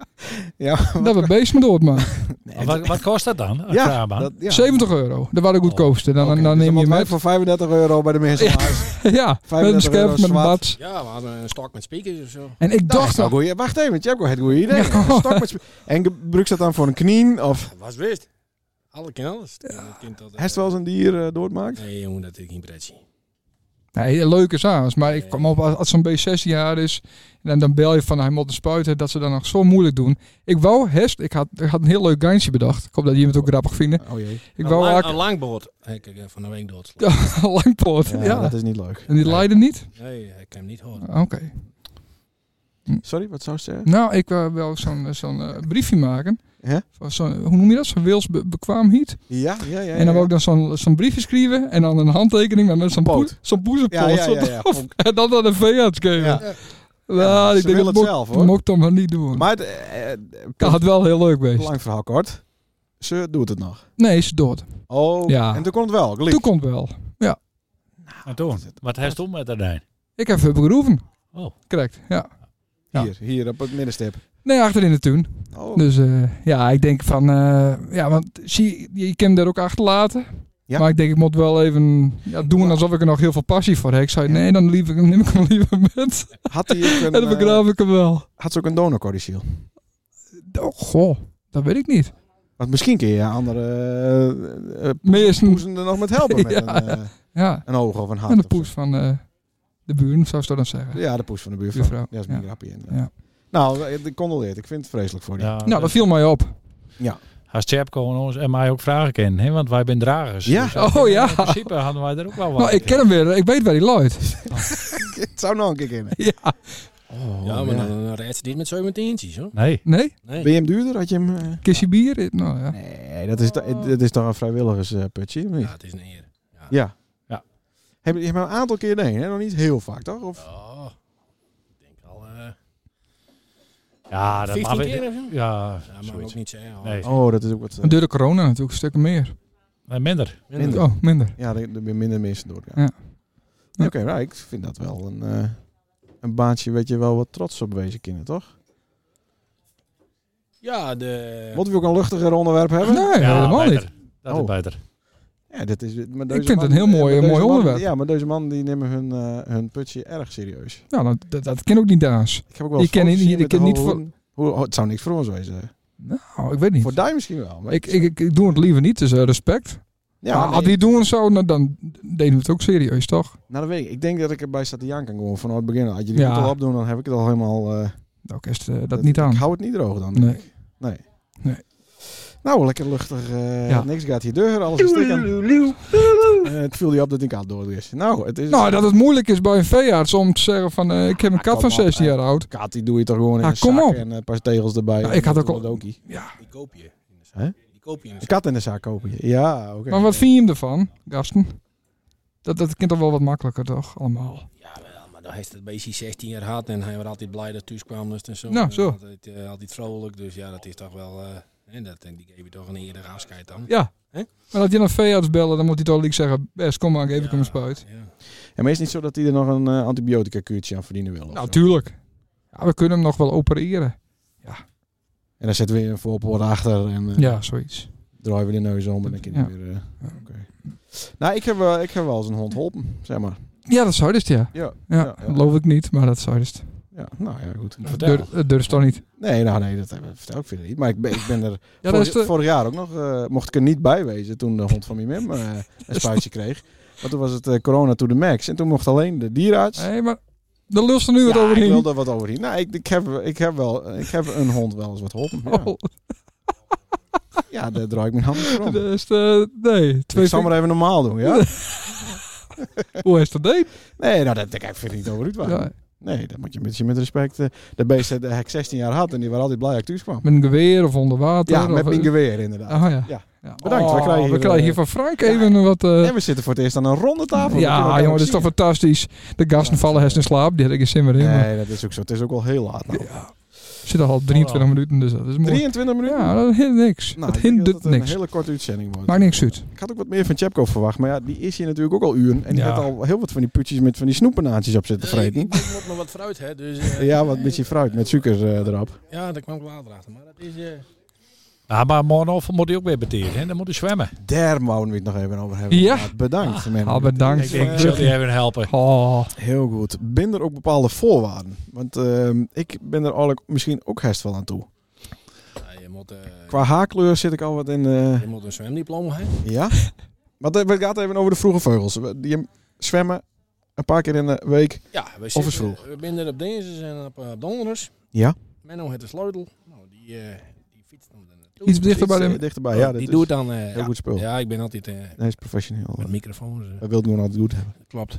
Speaker 2: Ja,
Speaker 1: dat we beest me doodmaken.
Speaker 5: Maar Wat, wat kost dat dan? een
Speaker 2: ja,
Speaker 5: kraaibaan?
Speaker 2: dat, ja.
Speaker 1: 70 euro, dat waren de goedkoopste. Dan, dan
Speaker 2: Oké, dus
Speaker 1: neem je
Speaker 2: moeten wij
Speaker 1: met,
Speaker 2: voor 35 euro bij de mensen
Speaker 1: Ja.
Speaker 2: thuis.
Speaker 1: ja, met
Speaker 2: 35
Speaker 1: een scherp,
Speaker 2: euro
Speaker 1: met een
Speaker 2: zwart. Nou,
Speaker 1: bats.
Speaker 6: Ja, we hadden een stok met speakers of zo.
Speaker 1: En ik
Speaker 2: Dat is
Speaker 1: dacht,
Speaker 2: wel
Speaker 1: al-
Speaker 2: goeie- Wacht even, je hebt ook het goede idee.
Speaker 1: Ja.
Speaker 2: Een stok met sp- En gebruik ze dat dan voor een knie? Of
Speaker 6: Ja, Was wist. Alle ken alles. Dat kind dat, eh,
Speaker 2: heeft wel eens een dier eh, doodmaakt?
Speaker 6: Nee, jongen, dat ik niet prettig.
Speaker 1: Nee, leuk is aan. Maar ik kwam op als als zo'n B16 jaar is. En dan bel je van hij moet een spuiten. Dat ze dan nog zo moeilijk doen. Ik wou hest. Ik had, ik had een heel leuk geintje bedacht. Ik hoop dat jullie het ook grappig vinden.
Speaker 2: Oh jee.
Speaker 1: Ik wou
Speaker 6: Nou, lang,
Speaker 1: eigenlijk
Speaker 6: een langboord. Ik heb eh, van een week doodslaan.
Speaker 1: lang poort.
Speaker 2: Ja,
Speaker 1: Ja,
Speaker 2: dat is niet leuk.
Speaker 6: eh,
Speaker 1: En die leiden niet?
Speaker 6: Nee, ik kan hem niet horen.
Speaker 1: Oké.
Speaker 2: Sorry, wat zou ze zeggen?
Speaker 1: Ah, Nou, ik wil wel zo'n zo'n eh, briefje maken.
Speaker 2: Ja?
Speaker 1: Van zo'n- eh, hoe noem je dat? Zo'n wilsbekwaamheid.
Speaker 2: Ja, ja, ja. ja,
Speaker 1: En dan
Speaker 2: ja.
Speaker 1: ook dan zo'n zo'n briefje schrijven en dan een handtekening met- met zo'n
Speaker 2: Poot.
Speaker 1: poes- zo'n poezenpoot.
Speaker 2: Ja, ja, ja,
Speaker 1: Zo'n-
Speaker 2: ja.
Speaker 1: En dan aan de veearts geven.
Speaker 2: Ja.
Speaker 1: Nou,
Speaker 2: Ja,
Speaker 1: ik
Speaker 2: ze
Speaker 1: denk
Speaker 2: wil
Speaker 1: dat
Speaker 2: het
Speaker 1: mo-
Speaker 2: zelf, hoor.
Speaker 1: mocht dan maar niet doen.
Speaker 2: Maar het, eh, eh,
Speaker 1: ik had het wel heel leuk geweest.
Speaker 2: lang verhaal kort. Ze doet het nog.
Speaker 1: Nee, ze dood.
Speaker 2: Oh,
Speaker 1: Ja.
Speaker 2: en toen kon het wel. Geliek.
Speaker 1: Toen komt wel.
Speaker 5: En toen? Wat heeft toen met haar dijn?
Speaker 1: Ik heb even geroeven.
Speaker 5: Oh.
Speaker 1: Correct, ja.
Speaker 5: Ja.
Speaker 2: Hier, hier op het middenstip.
Speaker 1: Nee, achter in de tuin.
Speaker 2: Oh,
Speaker 1: Dus eh, ja, ik denk van... eh, ja, want zie, je je kan hem daar ook achterlaten.
Speaker 2: Ja.
Speaker 1: Maar ik denk, ik moet wel even ja, doen alsof ik er nog heel veel passie voor heb. Ik zei,
Speaker 2: Ja.
Speaker 1: nee, dan liep ik, hem- neem ik hem liever met.
Speaker 2: had, hij ook
Speaker 1: En
Speaker 2: een,
Speaker 1: dan
Speaker 2: eh,
Speaker 1: begraaf ik hem wel.
Speaker 2: had ze ook een donorcodiciel?
Speaker 1: Oh, goh, dat weet ik niet.
Speaker 2: Want misschien kun je andere eh, eh,
Speaker 1: Meesten,
Speaker 2: poezen er nog met helpen. Met
Speaker 1: Ja.
Speaker 2: een, eh,
Speaker 1: ja.
Speaker 2: een oog of een hart.
Speaker 1: En de
Speaker 2: of zo.
Speaker 1: poes van eh, de buren, zou ze dat dan zeggen.
Speaker 2: Ja, de poes van de buurvrouw.
Speaker 1: Buurvrouw,
Speaker 2: Ja, dat is
Speaker 1: ja.
Speaker 2: mijn grapje. inderdaad.
Speaker 1: Ja.
Speaker 2: Nou, eh, ik condoleer. Ik vind het vreselijk voor je.
Speaker 5: Ja,
Speaker 1: nou, dat viel mij op.
Speaker 5: Als Chap kon ons en mij ook vragen kennen, hè? want wij zijn dragers.
Speaker 2: Ja.
Speaker 5: Dus dat-
Speaker 1: Oh, ja.
Speaker 5: In principe hadden wij er ook wel wat.
Speaker 1: Nou, ik ken hem weer. Ik weet waar hij looit.
Speaker 2: Het zou nog een keer kunnen.
Speaker 1: ja.
Speaker 2: Oh,
Speaker 6: ja, maar dan, dan redt ze dit met 17 tientjes, hoor.
Speaker 5: Nee.
Speaker 1: Nee?
Speaker 6: Nee.
Speaker 2: Ben je hem duurder? Had je hem... eh? Oh.
Speaker 1: Kistje bier? Eh, Nou ja.
Speaker 2: Nee, dat is, to- dat is toch een vrijwilligersputje? of niet?
Speaker 6: Ja, het is een eer.
Speaker 2: Ja.
Speaker 5: Ja.
Speaker 2: Heb je je hebt hem een aantal keer nee, hè? Nog niet heel vaak, toch? Of
Speaker 6: Oh, ik denk al eh
Speaker 5: Ja, dat
Speaker 6: 15
Speaker 5: mag
Speaker 6: keer
Speaker 5: ik.
Speaker 6: of zo.
Speaker 5: Ja,
Speaker 6: Ja, maar
Speaker 5: zoiets.
Speaker 6: ook niet zeggen. hoor.
Speaker 5: Nee.
Speaker 2: Oh, dat is ook wat. eh,
Speaker 1: En door de corona natuurlijk stukken meer.
Speaker 5: Nee, minder.
Speaker 6: Minder.
Speaker 1: Oh, minder.
Speaker 2: ja, er er zijn minder mensen doorgaan.
Speaker 1: Ja. Ja.
Speaker 2: Oké, nou, ik vind dat wel een, eh, een baantje weet je wel wat trots op wezen kinderen, toch?
Speaker 6: Ja, de...
Speaker 2: Moeten we ook een luchtiger onderwerp hebben?
Speaker 1: Nee,
Speaker 5: ja,
Speaker 1: helemaal
Speaker 5: beter.
Speaker 1: niet.
Speaker 5: Dat
Speaker 2: Oh.
Speaker 5: is beter.
Speaker 2: Ja, dit is, maar deze
Speaker 1: vind het
Speaker 2: man-
Speaker 1: een heel mooi-
Speaker 2: maar
Speaker 1: een
Speaker 2: deze
Speaker 1: mooi
Speaker 2: man-
Speaker 1: onderwerp.
Speaker 2: Ja, maar deze man die nemen hun, eh, hun putje erg serieus.
Speaker 1: Nou, dat, dat, dat ken ook niet daas.
Speaker 2: Ik heb ook wel eens
Speaker 1: Je kan
Speaker 2: foto's
Speaker 1: niet-
Speaker 2: gezien
Speaker 1: je
Speaker 2: met de
Speaker 1: kan niet
Speaker 2: hoge hoeden. Hoe- oh, het zou niks voor ons wezen.
Speaker 1: Nou, ik weet niet.
Speaker 2: Voor Duim misschien wel. Maar
Speaker 1: Ik, ik, ik, ik doe het liever niet, dus eh, respect.
Speaker 2: ja,
Speaker 1: maar
Speaker 2: nee.
Speaker 1: als die doen zo, nou, dan deden we het ook serieus, toch?
Speaker 2: Nou, dat weet ik. Ik denk dat ik erbij staat te janken gewoon vanaf het begin. Had je die
Speaker 1: Ja.
Speaker 2: ja. al opdoen, dan heb ik het al helemaal... eh,
Speaker 1: Nou, kerst eh, dat, niet aan.
Speaker 2: Ik hou het niet droog dan.
Speaker 1: Nee.
Speaker 2: denk ik. Nee.
Speaker 1: Nee.
Speaker 2: Nou, lekker luchtig. eh,
Speaker 1: Ja.
Speaker 2: Niks gaat hier deur, alles is stikken. Eh, het viel je op dat ik aan door is. Nou, het is...
Speaker 1: Nou, dat het moeilijk is bij een veearts om te zeggen van... eh, ik heb een
Speaker 2: Ja,
Speaker 1: kat van
Speaker 2: kom op,
Speaker 1: 16
Speaker 2: hè.
Speaker 1: jaar oud.
Speaker 2: Kaat, die doe je toch gewoon in
Speaker 1: Ah,
Speaker 2: een
Speaker 1: kom
Speaker 2: zak
Speaker 1: op.
Speaker 2: en eh, een paar tegels erbij.
Speaker 1: Nou, ik had ook al-
Speaker 2: Een
Speaker 6: Die koop je in de
Speaker 2: Hè?
Speaker 6: zaak. Die koop je in de
Speaker 2: Een
Speaker 6: zaak.
Speaker 2: kat in de zak kopen. Ja, oké.
Speaker 1: Maar wat vind je hem ervan, gasten? Dat, dat kind toch wel wat makkelijker, toch? Allemaal.
Speaker 6: Ja, wel, maar dan heeft het beestje 16 jaar gehad en hij was altijd blij dat thuis kwam. Dus en zo.
Speaker 1: Nou,
Speaker 6: En
Speaker 1: zo.
Speaker 6: Altijd, eh, altijd vrolijk, dus ja, dat is toch wel... eh en dat, en die geef je toch een eerder afscheid dan.
Speaker 1: Ja.
Speaker 6: Hè?
Speaker 1: Maar dat je een veearts bellen, dan moet hij toch liek zeggen... Best, kom maar, geef ik hem een spuit.
Speaker 6: Ja.
Speaker 2: En maar is het niet zo dat hij er nog een eh, antibiotica-kuurtje aan verdienen wil? of
Speaker 1: Nou,
Speaker 2: zo?
Speaker 1: tuurlijk. Ja, we kunnen hem nog wel opereren.
Speaker 2: En dan zetten we weer een voorpoort achter en eh,
Speaker 1: Ja, zoiets.
Speaker 2: draaien we de neus om en dan kan hij
Speaker 1: Ja.
Speaker 2: weer... eh, oké. Nou, ik heb, wel- ik heb wel eens een hond holpen, zeg maar.
Speaker 1: Ja, dat zou dus, ja.
Speaker 2: Ja,
Speaker 1: Ja,
Speaker 2: Ja, ja.
Speaker 1: dat geloof ik niet, maar dat zou dus.
Speaker 2: ja, nou ja, goed.
Speaker 5: Vertel.
Speaker 1: Dur- eh, Het durft toch niet.
Speaker 2: Nee, nou nee, dat eh, vertel ik verder niet. Maar ik ben, ik ben er
Speaker 1: Ja, dat
Speaker 2: vorig,
Speaker 1: is de...
Speaker 2: vorig jaar ook nog, eh, mocht ik er niet bij wezen toen de hond van mijn mem eh, een spuitje kreeg. Want toen was het eh, corona to the max. En toen mocht alleen de dierenarts.
Speaker 1: Nee, maar daar lust er nu wat
Speaker 2: Ja, ik
Speaker 1: overheen.
Speaker 2: wilde er wat over hier. Nou, ik, ik, heb, ik, heb wel, ik heb een hond wel eens wat geholpen. Ja,
Speaker 1: Oh,
Speaker 2: ja daar draai ik mijn handen voor om.
Speaker 1: dat is de... Nee, twee
Speaker 2: Ik zal maar even normaal doen, ja?
Speaker 1: vingers- Hoe is dat deed?
Speaker 2: Nee, nou, dat, ik vind ik niet over uit waar.
Speaker 1: Ja,
Speaker 2: Nee, dat moet je een beetje met respect. eh, de beest dat ik 16 jaar had en die waren altijd blij dat ik thuis kwam.
Speaker 1: met een geweer of onder water.
Speaker 2: Ja, met
Speaker 1: of...
Speaker 2: mijn geweer inderdaad.
Speaker 1: Ah, ja.
Speaker 2: Ja.
Speaker 1: Ja.
Speaker 2: Bedankt,
Speaker 1: Oh,
Speaker 2: we krijgen hier,
Speaker 1: hier
Speaker 2: eh,
Speaker 1: van Frank
Speaker 2: ja.
Speaker 1: even wat... eh,
Speaker 2: En we zitten voor het eerst aan een ronde tafel. Dat kunnen we
Speaker 1: ja,
Speaker 2: elkaar
Speaker 1: jongen, dat
Speaker 2: ook
Speaker 1: is toch
Speaker 2: zien.
Speaker 1: fantastisch. De gasten
Speaker 2: Ja. eh,
Speaker 1: vallen hersen in slaap. Die had ik in zin meer in. maar
Speaker 2: Nee, dat is ook zo. Het is ook al heel laat nou.
Speaker 1: het zit al 23
Speaker 5: Oh.
Speaker 1: minuten, dus dat is mooi.
Speaker 2: 23 minuten?
Speaker 1: Ja, dat hindert niks.
Speaker 2: Nou,
Speaker 1: dat
Speaker 2: ik denk dat
Speaker 1: hindert
Speaker 2: het
Speaker 1: niks.
Speaker 2: een hele korte uitzending wordt.
Speaker 1: Maakt niks uit.
Speaker 2: Ik had ook wat meer van Chepko verwacht, maar ja, die is hier natuurlijk ook al uren. En die
Speaker 5: Ja.
Speaker 2: had al heel wat van die putjes met van die snoepenaatjes op zitten
Speaker 6: Eh, ik,
Speaker 2: vreten.
Speaker 6: ik moet nog wat fruit, hè. Dus, eh,
Speaker 2: Ja, wat beetje fruit met suiker eh, erop.
Speaker 6: Ja, daar kwam ik later achter. Maar dat is... eh
Speaker 5: Ja, maar morgen moet hij ook weer beteren. hè? Dan moet hij zwemmen.
Speaker 2: Daar mogen we het nog even over hebben.
Speaker 1: Ja.
Speaker 2: Maar Bedankt. men.
Speaker 1: Ah, bedankt.
Speaker 5: Ik, ik zal die even helpen.
Speaker 1: Oh,
Speaker 2: Heel goed. Ben er ook bepaalde voorwaarden? Want ehm, ik ben er eigenlijk misschien ook herst wel aan toe.
Speaker 6: ja, je, moet, eh,
Speaker 2: Qua haarkleur zit ik al wat in... eh,
Speaker 6: je moet een zwemdiploma hebben.
Speaker 2: ja? Maar het gaat even over de vroege vogels. Die zwemmen een paar keer in de week.
Speaker 6: Ja, we
Speaker 2: eens
Speaker 6: zitten, eh,
Speaker 2: vroeg.
Speaker 6: We zijn er op dinsdags en op eh, donderdags.
Speaker 2: Ja.
Speaker 6: Menno heeft de sleutel. Nou, die, eh, die fietst dan er naartoe.
Speaker 1: iets dichter bij
Speaker 2: Iets, eh,
Speaker 1: de...
Speaker 2: dichterbij. Ja, dat
Speaker 6: die
Speaker 2: is
Speaker 6: doet dan... eh,
Speaker 2: heel
Speaker 6: ja,
Speaker 2: goed spul.
Speaker 6: ja, ik ben altijd eh
Speaker 2: Hij is professioneel.
Speaker 6: met microfoons. eh,
Speaker 2: Hij wil het gewoon altijd goed hebben.
Speaker 6: klopt.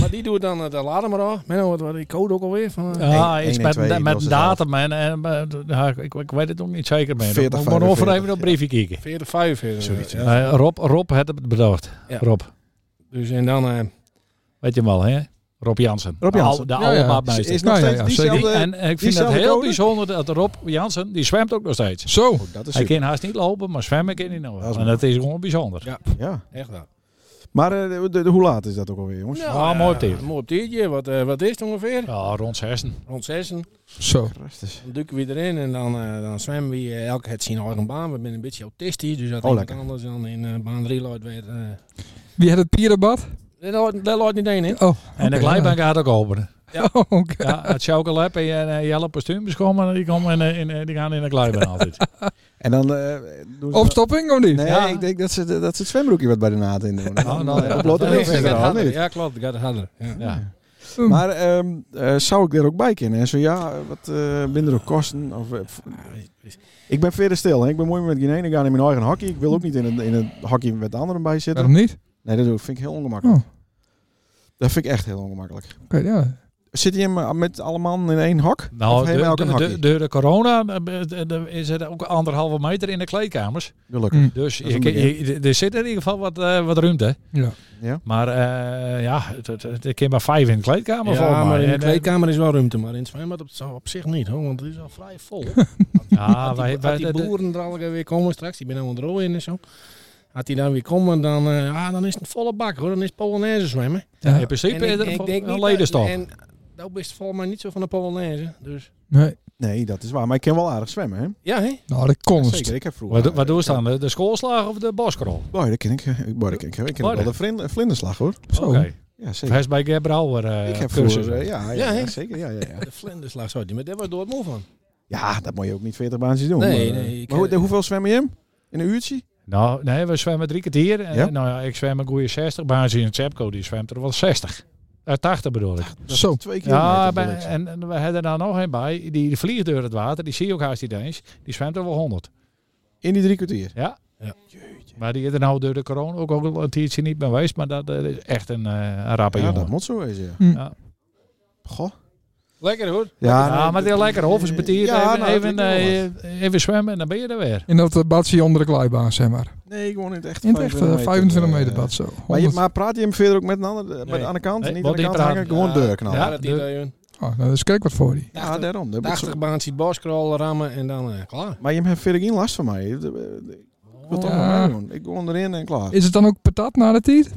Speaker 6: Maar die doet dan eh, het later maar af. Menno, wat was die code ook alweer? Van, eh,
Speaker 5: Ja,
Speaker 2: Eén-
Speaker 5: iets
Speaker 2: één,
Speaker 5: met,
Speaker 2: twee,
Speaker 5: met
Speaker 2: dat is
Speaker 5: datum en, en eh, ja, ik, ik weet het nog niet zeker meer.
Speaker 2: 40,
Speaker 5: Ik moet over
Speaker 2: 45,
Speaker 5: even dat briefje kijken.
Speaker 6: 40, 45.
Speaker 2: Zoiets, ja.
Speaker 5: Eh, Rob, Rob had het bedacht.
Speaker 6: Ja.
Speaker 5: Rob,
Speaker 6: Dus en dan... eh,
Speaker 5: weet je hem wel, hè? Rob Jansen.
Speaker 2: Rob
Speaker 5: De al-
Speaker 2: Jansen.
Speaker 5: De
Speaker 1: Ja,
Speaker 5: oude
Speaker 1: ja.
Speaker 5: maatmeester.
Speaker 2: Is nog
Speaker 1: Ja, ja,
Speaker 2: steeds
Speaker 1: ja,
Speaker 5: Die-
Speaker 2: diezelfde...
Speaker 5: en ik vind het
Speaker 2: diezelfde
Speaker 5: heel
Speaker 2: code?
Speaker 5: bijzonder dat Rob Jansen, die zwemt ook nog steeds.
Speaker 1: Zo.
Speaker 2: Oh, dat is
Speaker 5: Hij
Speaker 2: super.
Speaker 5: kan haast niet lopen, maar zwemmen kan hij nog.
Speaker 2: Dat is
Speaker 5: wel. En dat is gewoon bijzonder.
Speaker 6: Ja.
Speaker 2: Ja.
Speaker 6: echt wel.
Speaker 2: Maar eh, de, de- de- hoe laat is dat ook alweer, jongens?
Speaker 6: Nou,
Speaker 5: Ah,
Speaker 6: eh,
Speaker 5: mooi op dit.
Speaker 6: Mooi op ditje. Wat, eh, wat is het ongeveer?
Speaker 5: Ja, rond zessen.
Speaker 6: Rond zessen.
Speaker 1: Zo.
Speaker 2: Christus.
Speaker 6: Dan duiken we erin en dan, eh, dan zwemmen we eh, elk het zijn eigen baan. We zijn een beetje autistisch, dus dat
Speaker 2: Oh,
Speaker 6: is
Speaker 2: lekker.
Speaker 6: anders dan in eh, baan 3 loopt weer. eh,
Speaker 1: Wie had het pierenbad?
Speaker 6: dat loopt- dat loopt niet één in.
Speaker 1: Oh.
Speaker 5: En de glijbaan gaat ook openen.
Speaker 1: Oh, oké.
Speaker 5: Ja, het chocolade en je uh, jelle postuums komen, die, komen in, eh, in, eh, die gaan in de glijbaan altijd.
Speaker 2: En dan eh, doen ze...
Speaker 1: Opstopping of niet?
Speaker 2: Nee,
Speaker 5: Ja.
Speaker 2: ik denk dat ze, dat ze het zwembroekje wat bij de naad in doen.
Speaker 5: Oh, nou, ja.
Speaker 2: Oploopt
Speaker 5: Dat
Speaker 2: er
Speaker 5: is-
Speaker 2: heel verder
Speaker 6: gaat
Speaker 2: al,
Speaker 6: harder.
Speaker 2: niet?
Speaker 6: Ja, klopt. Dat gaat harder. Ja.
Speaker 5: Ja.
Speaker 1: Hm.
Speaker 2: Maar ehm, eh, zou ik er ook bij kunnen? En zo ja, eh, wat eh minder ook kosten? Of, eh, f- ik ben verder stil. Hè? Ik ben mooi met geen ene gaan in mijn eigen hockey. Ik wil ook niet in het, in het hockey met de anderen bij zitten.
Speaker 1: Waarom niet?
Speaker 2: Nee, dat doe ik- vind ik heel ongemakkelijk.
Speaker 1: Oh.
Speaker 2: Dat vind ik echt heel ongemakkelijk.
Speaker 1: Oké, ja.
Speaker 2: Zit je hem eh, met alle man in één hok?
Speaker 5: Nou,
Speaker 2: of helemaal
Speaker 5: de-
Speaker 2: ook een
Speaker 5: de- de-
Speaker 2: hakkie?
Speaker 5: door de corona eh, be- de- is er ook anderhalve meter in de kleedkamers.
Speaker 2: Gelukkig.
Speaker 1: Hm.
Speaker 5: Dus
Speaker 2: Dat is
Speaker 5: je
Speaker 2: een
Speaker 5: kan-
Speaker 2: begin.
Speaker 5: je- er zit in ieder geval wat, eh, wat ruimte.
Speaker 1: Ja.
Speaker 2: Ja.
Speaker 5: Maar eh, ja, het- het- het- er kan maar vijf in de kleedkamer volgens
Speaker 6: Ja,
Speaker 5: mij.
Speaker 6: maar in de
Speaker 5: En, eh,
Speaker 6: kleedkamer is wel ruimte, maar in het zwembad op, op zich niet, hoor, want het is al vrij vol.
Speaker 5: Ja,
Speaker 6: Als
Speaker 5: Ah, wij,
Speaker 6: die,
Speaker 5: wij,
Speaker 6: als die
Speaker 5: de- de-
Speaker 6: boeren er al weer komen straks, die ben nou aan het rooien en zo. Als die dan weer komen, dan, eh, ah, dan is het een volle bak hoor. Dan is Polonaise zwemmen.
Speaker 1: Ja.
Speaker 5: in principe is
Speaker 6: en
Speaker 5: er
Speaker 6: ik- ik denk
Speaker 5: een
Speaker 6: niet
Speaker 5: ledenstap.
Speaker 6: dat- En nou dat is volgens mij niet zo van de Polonaise. Dus
Speaker 1: Nee.
Speaker 2: Nee, dat is waar. Maar ik kan wel aardig zwemmen, hè?
Speaker 6: ja, hè?
Speaker 1: Nou, de konst.
Speaker 2: Zeker, ik heb vroeger...
Speaker 5: Wat, wat doen ze dan? De, de schoolslag of de boskrol?
Speaker 2: Boy, dat ken ik. eh, Boy, dat ken ik. Ik ken ook wel de vriend- vlinderslag, hoor.
Speaker 1: Zo.
Speaker 5: Oké.
Speaker 2: Ja, zeker.
Speaker 5: Vers bij Gerbrouwer eh
Speaker 2: ik heb
Speaker 5: cursus.
Speaker 2: vroeger... eh, ja, ja,
Speaker 6: Ja,
Speaker 2: ja,
Speaker 6: hè?
Speaker 2: zeker. Ja, ja, ja.
Speaker 6: De vlinderslag, zo. die- Maar daar was door het moe van.
Speaker 2: ja, dat moet je ook niet 40 baantjes doen.
Speaker 6: Nee,
Speaker 2: maar, eh,
Speaker 6: nee, ik-
Speaker 2: maar hoe- hoeveel zwem je hem? In een uurtje?
Speaker 5: Nou, nee, we zwemmen drie kwartier. En,
Speaker 2: Ja?
Speaker 5: Nou ja, ik zwem een goede 60. Basis in het Sepco, die zwemt er wel 60. Eh, 80 bedoel ik.
Speaker 2: Dat is
Speaker 1: Zo.
Speaker 2: Twee keer.
Speaker 5: Ja, bij- eh, en, en we hebben daar nog een bij. Die vliegt door het water. Die zie je ook haast niet eens. Die zwemt er wel 100.
Speaker 2: In die drie kwartier.
Speaker 5: Ja. Maar die is er nou door de corona ook al een tijdje niet meer geweest. Maar dat eh, is echt een, eh, een rappe
Speaker 2: Ja, dat
Speaker 5: jongen.
Speaker 2: moet zo wezen,
Speaker 1: Hm.
Speaker 2: ja.
Speaker 5: Ja.
Speaker 2: Goh.
Speaker 6: Lekker hoor.
Speaker 2: Ja,
Speaker 5: Ja, maar die lekker hof is betiert.
Speaker 2: Ja, nou,
Speaker 5: even,
Speaker 2: dat
Speaker 5: even,
Speaker 2: doet hij wel
Speaker 5: eh, even zwemmen en dan ben je er weer.
Speaker 1: In dat eh, badje onder de glijbaan, zeg maar.
Speaker 2: Nee, ik woon in het echt
Speaker 1: In het echt eh, 25 meter
Speaker 2: eh,
Speaker 1: bad, zo.
Speaker 2: Maar, je,
Speaker 1: 100.
Speaker 2: maar praat je hem verder ook met een ander, met
Speaker 6: Nee.
Speaker 2: aan de kant?
Speaker 5: Nee,
Speaker 2: niet aan
Speaker 5: want
Speaker 2: de
Speaker 5: die
Speaker 2: kant
Speaker 5: praten-
Speaker 2: hangen, gewoon
Speaker 6: Ja,
Speaker 2: deur knallen.
Speaker 5: Ja,
Speaker 6: Ja, dat
Speaker 5: de-
Speaker 6: idee, hoor.
Speaker 1: Oh, nou, dat is kijk wat voor die.
Speaker 2: Ja, daarom. Dat moet
Speaker 6: 80
Speaker 2: zo.
Speaker 6: baantjes het boskrol rammen en dan eh, klaar.
Speaker 2: Maar je hebt verder geen last van mij. Ik wil toch
Speaker 1: Ja.
Speaker 2: nog maar doen. Ik gewoon erin en klaar.
Speaker 1: Is het dan ook patat na de tijd?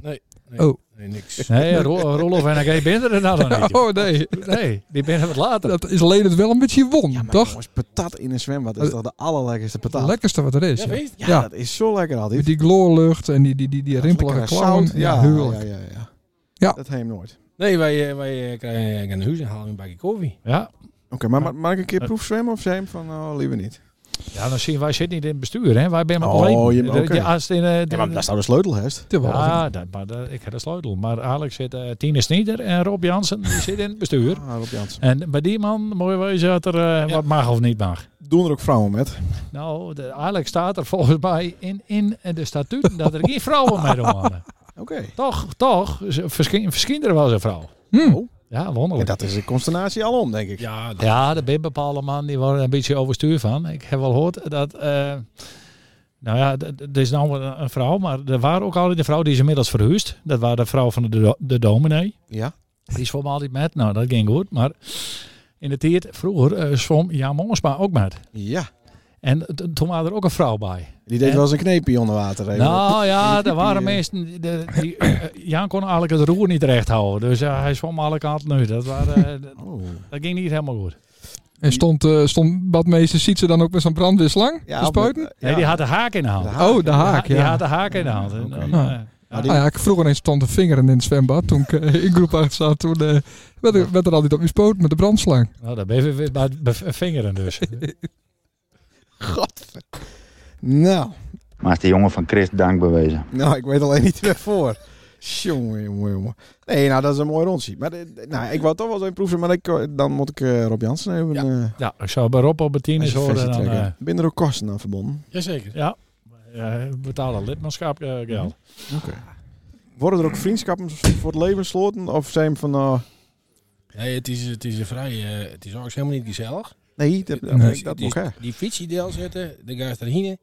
Speaker 6: Nee, niks.
Speaker 5: Nee, Ro- Rolof en ik ben er nou nog niet.
Speaker 1: Oh nee,
Speaker 5: Nee, die ben er wat later.
Speaker 1: dat is alleen het wel een beetje won,
Speaker 2: Ja, maar
Speaker 1: toch?
Speaker 2: jongens, patat in een zwembad is toch de allerlekkerste
Speaker 1: Het
Speaker 2: patat?
Speaker 1: lekkerste wat er is.
Speaker 6: Ja,
Speaker 1: ja.
Speaker 6: weet je?
Speaker 2: ja, dat is zo lekker altijd.
Speaker 1: Met die gloorlucht en die, die, die, die rimpelige
Speaker 2: Lekkere
Speaker 1: clown.
Speaker 2: zout. Ja,
Speaker 1: heerlijk.
Speaker 2: ja, ja, ja.
Speaker 1: Ja.
Speaker 2: Dat heem nooit.
Speaker 6: Nee, wij, eh, wij eh, krijgen een huis en halen een bakje koffie.
Speaker 5: Ja. Eh.
Speaker 2: Oké, maar ma- maak ik een keer proefzwemmen of zijn van, oh, liever niet?
Speaker 5: ja, dan zien wij zitten niet in het bestuur. Hè. Wij zijn maar
Speaker 2: Oh,
Speaker 5: alleen.
Speaker 2: je bent-
Speaker 5: De-
Speaker 2: oké.
Speaker 5: de- als het in, eh, de-
Speaker 2: nou de sleutelhest.
Speaker 1: Terwijl-
Speaker 5: ja, dat, maar dat- ik heb de sleutel. Maar Alex zit, eh Tine Snieder en Rob Jansen die zitten in het bestuur.
Speaker 2: Ah, Rob Jansen.
Speaker 5: En bij die man mooi wezen dat er eh, wat mag of niet mag.
Speaker 2: Doen er ook vrouwen met?
Speaker 5: Nou, de, eigenlijk staat er volgens mij in, in de statuten dat er geen vrouwen mee doen mogen.
Speaker 2: Oké.
Speaker 5: Toch, toch, ze- verschi- verschijnt er wel zo'n vrouw.
Speaker 1: Hm.
Speaker 5: Ja, wonderlijk.
Speaker 2: dat is de consternatie alom, denk ik.
Speaker 6: Ja, dat
Speaker 5: Ja, de bepaalde man die worden een beetje overstuur van. Ik heb wel gehoord dat. eh, nou ja, d- d- er is nou een een vrouw, maar er waren ook altijd een vrouw die is inmiddels verhuisd. Dat waren de vrouw van de, do- de dominee.
Speaker 2: Ja?
Speaker 5: Die is voor me altijd met. Nou, dat ging goed. Maar in de tijd vroeger eh, zwom Jan Mongsma ook met.
Speaker 2: Ja.
Speaker 5: En t- toen waren er ook een vrouw bij.
Speaker 2: Die deed
Speaker 5: En-
Speaker 2: wel eens een kneepje onder water. even.
Speaker 5: nou ja,
Speaker 2: die-
Speaker 5: er waren
Speaker 2: die-
Speaker 5: mensen. die- de- die, eh, Jan kon eigenlijk het roer niet recht houden. Dus ja, hij zwom alle kanten nu. Dat, waren, eh, dat-
Speaker 2: Oh.
Speaker 5: dat ging niet helemaal goed.
Speaker 1: En stond, eh stond badmeester Sietse dan ook met zo'n brandweerslang
Speaker 2: Ja,
Speaker 1: te spuiten?
Speaker 2: op-
Speaker 5: Nee, die had de haak in de hand.
Speaker 2: De
Speaker 1: Oh, de haak,
Speaker 5: Die had
Speaker 1: ja.
Speaker 5: de haak in de hand. En
Speaker 2: Oké.
Speaker 5: dan,
Speaker 7: Nou,
Speaker 1: Ja.
Speaker 5: eh,
Speaker 2: Maar
Speaker 1: Ah, ja, ik vroeger eens stond de vingeren in het zwembad. Toen ik eh, in groep 8 zat, toen eh, werd, er, werd er altijd op je spoot met de brandslang.
Speaker 5: nou, dan ben je weer bij het bev- vingeren dus.
Speaker 2: God. Nou.
Speaker 4: Maar is de jongen van Chris dank bewezen.
Speaker 2: Nou, ik weet alleen niet waarvoor. Jongen, jongen, jongen. Nee, nou, dat is een mooi rondje. Maar eh, nou, ik wou toch wel zo'n proef zijn, maar ik, dan moet ik eh, Rob Jansen even
Speaker 6: Ja.
Speaker 2: eh,
Speaker 5: ja,
Speaker 7: Nou,
Speaker 5: ik zou bij Rob op het tien
Speaker 2: als
Speaker 5: is
Speaker 2: je versie
Speaker 5: horen. Dan,
Speaker 2: trekken.
Speaker 5: eh,
Speaker 2: Ben er ook kosten aan verbonden?
Speaker 6: Jazeker.
Speaker 5: ja, eh betalen lidmaatschap eh, geld.
Speaker 2: Oké. Worden er ook vriendschappen voor het leven gesloten? Of zijn we van... nou,
Speaker 6: Nee, het is, het is een vrij, eh, het is ook helemaal niet gezellig.
Speaker 2: nee, dat, dat,
Speaker 6: Dus
Speaker 2: dat
Speaker 6: die,
Speaker 2: mag hè.
Speaker 6: die fietsie deel zetten, dan ga je erheen,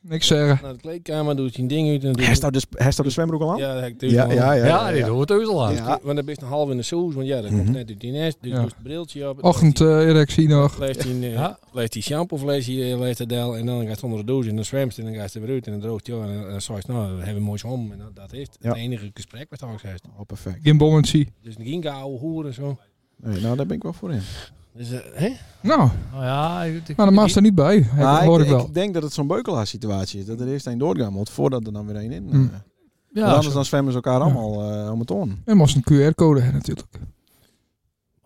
Speaker 1: Niks zeggen.
Speaker 6: naar de kleedkamer, doet je een ding uit en doe
Speaker 2: Hij staat dus- hij staat de zwembroek al aan?
Speaker 6: Ja, dat heb ik
Speaker 2: ja,
Speaker 6: natuurlijk
Speaker 2: ja.
Speaker 6: al.
Speaker 2: ja, ja,
Speaker 7: dit
Speaker 2: ja.
Speaker 7: hoort heus al aan.
Speaker 2: Ja.
Speaker 6: Dus, Want dan ben je een half in de soes, want ja, dat komt
Speaker 2: Mhm.
Speaker 6: net uit die nest, dus
Speaker 1: Ja.
Speaker 6: doe je het briltje op.
Speaker 1: Ochtend eh, erectie nog.
Speaker 6: Leest die, eh,
Speaker 7: Ja.
Speaker 6: leest die shampoo, of leest die, eh, leest dat deel en dan gaat het onder de douche en dan zwemt en dan gaat het weer uit en dan droogt je en dan- dan zegt nou, we hebben mooi zwom. En dat, dat is het
Speaker 2: Ja.
Speaker 6: enige gesprek wat hij heeft.
Speaker 2: Oh, perfect.
Speaker 1: Geen bommentie.
Speaker 6: Dus geen oude hoer en zo.
Speaker 2: Nee, nou, daar ben ik wel voor in.
Speaker 6: Dus, eh, hè?
Speaker 1: Nou,
Speaker 7: Nou ja, ik- ik-
Speaker 1: maar de maat staat niet bij. Hey,
Speaker 2: Maar
Speaker 1: dat hoor Ah, ik
Speaker 2: ik,
Speaker 1: wel.
Speaker 2: ik denk dat het zo'n beukelaar situatie is. Dat er eerst een doorgaan moet voordat er dan weer één in. eh.
Speaker 1: Hmm.
Speaker 2: Want
Speaker 7: Ja,
Speaker 2: anders
Speaker 7: zo.
Speaker 2: dan zwemmen ze elkaar allemaal eh, om het on.
Speaker 1: En moest een QR-code hebben natuurlijk.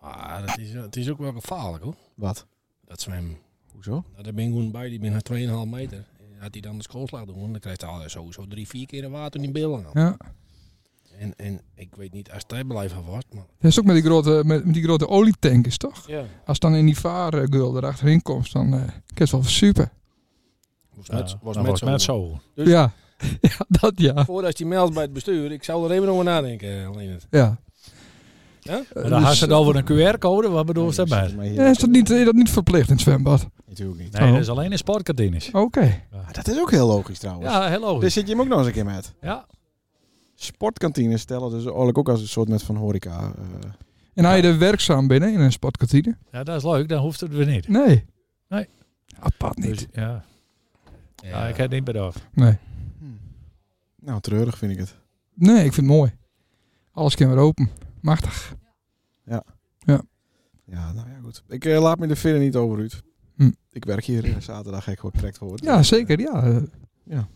Speaker 6: Maar dat is, het is ook wel gevaarlijk hoor,
Speaker 2: Wat?
Speaker 6: dat zwemmen.
Speaker 2: Hoezo?
Speaker 6: Nou, daar ben ik gewoon bij, die ben naar 2,5 meter. En Had hij dan de schoolslag doen, dan krijgt hij al sowieso drie, vier keer de water in die billen. al.
Speaker 1: Ja.
Speaker 6: En, en ik weet niet, als hij blijft van vast, maar...
Speaker 1: Dat is ook met die grote, met, met die grote olietankers, toch?
Speaker 6: Ja.
Speaker 1: Als dan in die vaargul erachterin komt, dan eh kan het wel super.
Speaker 6: Was
Speaker 5: Ja,
Speaker 6: net,
Speaker 5: dat
Speaker 6: was net zo.
Speaker 5: zo.
Speaker 6: Dus-
Speaker 1: Ja. ja, dat ja.
Speaker 6: Voordat je meldt bij het bestuur, ik zou er even over nadenken. Alleen het.
Speaker 1: Ja.
Speaker 6: Ja?
Speaker 1: Eh,
Speaker 7: Maar dan had
Speaker 1: dus-
Speaker 7: ze het over een QR-code, wat bedoel je daarbij?
Speaker 1: Ja, is dat niet, is dat niet verplicht in het zwembad?
Speaker 2: Natuurlijk niet.
Speaker 7: Nee, dat
Speaker 1: Oh.
Speaker 7: is alleen in sportkantines.
Speaker 1: Oké.
Speaker 2: Ah, dat is ook heel logisch trouwens.
Speaker 7: Ja, heel
Speaker 2: Daar
Speaker 7: logisch.
Speaker 2: zit je hem ook nog eens een keer met.
Speaker 7: Ja.
Speaker 2: Sportkantines stellen dus eigenlijk ook als een soort met van horeca. eh.
Speaker 1: En hij er werkzaam binnen in een sportkantine?
Speaker 7: ja, dat is leuk, dan hoeft het weer niet.
Speaker 1: Nee.
Speaker 7: Nee.
Speaker 1: Apart Ah, niet.
Speaker 7: Dus, ja. Ja, ik heb het niet bedacht.
Speaker 1: Nee.
Speaker 2: Nou, treurig vind ik het.
Speaker 1: Nee, ik vind het mooi. Alles kan weer open. Machtig.
Speaker 2: Ja, nou ja, goed. Ik eh, laat me er verder niet over uit.
Speaker 1: Hm.
Speaker 2: Ik werk hier eh, zaterdag, ik word correct voor.
Speaker 1: Ja, zeker. Ja. Oh, Eh,
Speaker 2: Ja.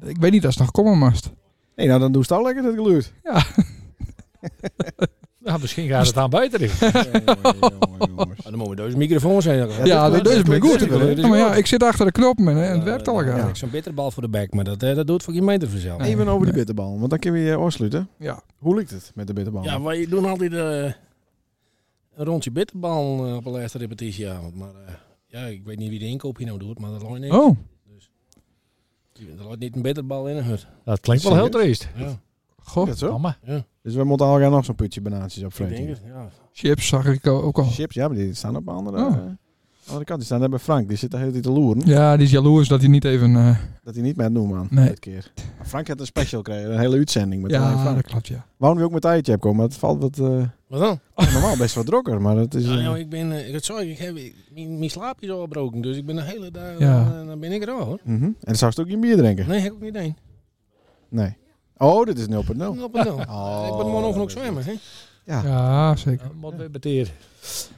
Speaker 1: Ik weet niet als het nog komen mast.
Speaker 2: Nee, nou dan doe je het al lekker dat geluid.
Speaker 7: Ja, Nou, misschien gaat het aan buiten liggen.
Speaker 6: Maar dan moeten we deze microfoon zijn. Ja, dus-
Speaker 1: Ja,
Speaker 2: dit-
Speaker 1: dat is
Speaker 2: dit-
Speaker 1: me
Speaker 2: dit-
Speaker 1: goed.
Speaker 2: dit- dit- dit-
Speaker 1: Ja, maar ja, ik zit achter de knop en, eh, en het werkt al
Speaker 6: Ja,
Speaker 1: elkaar.
Speaker 6: ik zo'n bitterbal voor de bek, maar dat, eh, dat doet voor geen meter vanzelf.
Speaker 1: Nee.
Speaker 2: Even over die bitterbal, want dan kunnen we je afsluiten.
Speaker 1: Ja.
Speaker 2: Hoe lukt het met de bitterbal?
Speaker 6: Ja, wij doen altijd eh, een rondje bitterbal eh, op de laatste repetitieavond. Maar eh, ja, ik weet niet wie de inkoop hier nou doet, maar dat loopt niet.
Speaker 1: Oh,
Speaker 6: Er loopt niet een bitterbal in een hut.
Speaker 7: Dat klinkt wel heel triest.
Speaker 6: Ja,
Speaker 1: goh.
Speaker 2: dat zo.
Speaker 7: Mama.
Speaker 2: Dus we moeten al gaan nog zo'n putje banaantjes op
Speaker 6: ik denk
Speaker 2: Frank.
Speaker 6: het. Ja.
Speaker 1: Chips zag ik ook al.
Speaker 2: Chips, ja, maar die staan op een andere,
Speaker 1: Oh.
Speaker 2: eh, andere kant. Die staan daar bij Frank, die zit de hele tijd te loeren.
Speaker 1: Ja, die is jaloers dat hij niet even... eh,
Speaker 2: Dat hij niet met noemen aan
Speaker 1: Nee.
Speaker 2: dit keer. Maar Frank had een special gekregen, een hele uitzending met alleen
Speaker 1: ja,
Speaker 2: Frank.
Speaker 1: dat klopt, ja.
Speaker 2: Waarom we ook met tijdje hebben komen, maar het valt wat, eh,
Speaker 6: Wat dan?
Speaker 1: Oh.
Speaker 2: normaal best wat drukker, maar het is...
Speaker 6: Ja,
Speaker 2: eh,
Speaker 6: joh, ik ben, eh, ik, sorry, ik heb, ik- mijn, mijn slaap is al gebroken, dus ik ben de hele dag,
Speaker 1: Ja.
Speaker 6: eh, dan ben ik er al hoor.
Speaker 2: mhm. En dan zou je ook geen bier drinken?
Speaker 6: Nee, heb ik ook niet één.
Speaker 2: Nee. Oh, dit is 0.0.
Speaker 6: Op en dan.
Speaker 2: Oh,
Speaker 6: ik ben morgen ook
Speaker 2: dat
Speaker 6: nog
Speaker 2: is
Speaker 6: zwemmen, hè?
Speaker 2: Ja.
Speaker 1: Ja, zeker.
Speaker 7: Dat moet weer beteerd.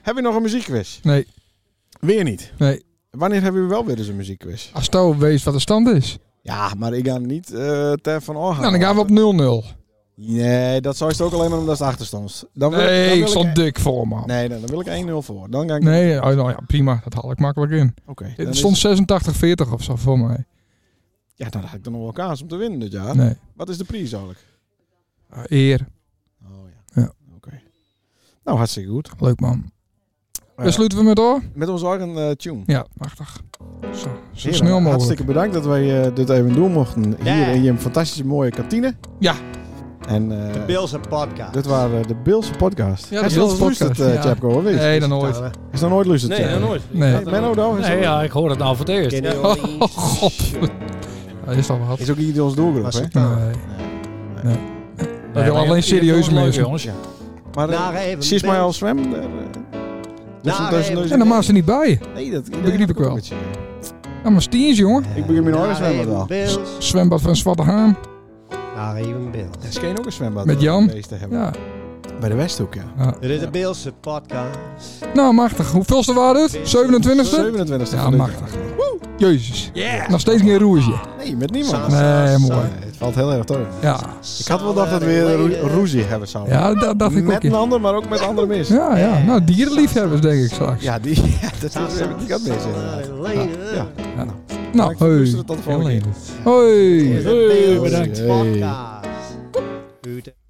Speaker 2: Hebben we nog een muziekquiz?
Speaker 1: Nee,
Speaker 2: Weer niet.
Speaker 1: nee.
Speaker 2: Wanneer hebben we wel weer eens een muziekquiz?
Speaker 1: Als Touw weet wat de stand is,
Speaker 2: Ja, maar ik ga niet eh ter van orgaan.
Speaker 1: nou, dan gaan we op 0-0.
Speaker 2: Nee, dat zou je ook alleen maar omdat ze achterstand. Dan wil dan
Speaker 1: Nee,
Speaker 2: wil
Speaker 1: ik stond
Speaker 2: een-
Speaker 1: dik voor, man.
Speaker 2: Nee, dan, dan wil ik 1-0 voor. Dan ga ik...
Speaker 1: Nee, oh, nou ja, prima. Dat haal ik makkelijk in.
Speaker 2: Oké. dan
Speaker 1: Er
Speaker 2: is-
Speaker 1: stond 86-40 of zo voor mij.
Speaker 2: Ja, dan had ik dan nog wel kaas om te winnen dit jaar.
Speaker 1: Nee,
Speaker 2: Wat is de prijs eigenlijk?
Speaker 1: Ah, eer.
Speaker 2: Oh ja.
Speaker 1: Ja.
Speaker 2: Oké. Nou, hartstikke goed.
Speaker 1: Leuk, man.
Speaker 2: Eh,
Speaker 1: Dan sluiten we met door?
Speaker 2: Met onze eigen eh, tune.
Speaker 1: Ja, machtig. Zo, zo
Speaker 2: Heren,
Speaker 1: snel mogelijk.
Speaker 2: Hartstikke bedankt dat wij eh, dit even doen mochten. Hier in je fantastische mooie kantine.
Speaker 1: Ja.
Speaker 2: En eh,
Speaker 8: De Beelse podcast.
Speaker 2: dit waren eh, de Beelse podcast.
Speaker 1: Ja, de
Speaker 2: Hij is
Speaker 1: Beelse
Speaker 2: wel eens luisterd,
Speaker 1: podcast,
Speaker 2: eh,
Speaker 1: ja.
Speaker 2: Tjepko, hoor, weet je?
Speaker 1: Nee, dan nooit.
Speaker 8: eh,
Speaker 2: Is nog nooit luisterd?
Speaker 6: Nee,
Speaker 1: ja.
Speaker 6: nog nooit.
Speaker 1: Nee.
Speaker 2: Hey, Menno, dan is,
Speaker 7: Nee,
Speaker 2: ook-
Speaker 7: ja, ik hoor het nou voor het eerst.
Speaker 8: Kenny Orleans.
Speaker 1: Oh, god. Dat is al wat.
Speaker 2: is ook niet in ons doelgroep,
Speaker 8: Was
Speaker 2: hè?
Speaker 8: het nou?
Speaker 1: Nee.
Speaker 2: Nee.
Speaker 1: Dat wil alleen serieus mensen.
Speaker 7: jongens.
Speaker 2: Maar eh,
Speaker 8: Naar even.
Speaker 2: zie je mij al eh, zwem?
Speaker 8: Naar even.
Speaker 1: En dan maakt ze niet bij.
Speaker 2: Nee, dat dat
Speaker 1: Begreep ik
Speaker 2: ook een
Speaker 1: wel.
Speaker 2: beetje.
Speaker 1: Ja, maar stiens, jongen.
Speaker 2: Ik begin mijn eigen zwembad wel.
Speaker 8: Beels.
Speaker 1: Zwembad van Zwarte Haan.
Speaker 8: Naar even Beels.
Speaker 2: Er scheen ook een zwembad.
Speaker 1: Met
Speaker 2: eh,
Speaker 1: Jan?
Speaker 2: geweest te hebben.
Speaker 1: Ja.
Speaker 2: Bij de Westhoek, ja.
Speaker 8: Dit is de Beelse podcast.
Speaker 1: Nou, machtig. Hoeveelste waren het? 27e?
Speaker 2: 27
Speaker 1: Ja, machtig. Jezus. Nog steeds geen roersje.
Speaker 2: Nee, met niemand.
Speaker 8: Sa- sa-
Speaker 1: Nee,
Speaker 8: sa-
Speaker 1: mooi.
Speaker 2: Nee, Het valt heel erg tegen.
Speaker 1: Ja,
Speaker 2: Ik had wel gedacht dat we weer een roe- roezie hebben samen.
Speaker 1: ja dat dacht ik
Speaker 2: met
Speaker 1: ook.
Speaker 2: een
Speaker 1: ja.
Speaker 2: ander, maar ook met andere mensen. Ja,
Speaker 1: Ja, ja. Nou, dierenliefhebbers denk ik straks.
Speaker 2: die, ja, dat
Speaker 8: Sa-
Speaker 2: is
Speaker 8: sa-
Speaker 2: ik had mis inderdaad. Ja.
Speaker 1: Nou,
Speaker 2: ik verkoester
Speaker 1: hoi.
Speaker 2: het tot de volgende
Speaker 1: Heel leuk. Hoi.
Speaker 8: Dit is de Beelse
Speaker 2: bedankt.
Speaker 8: podcast. Uit-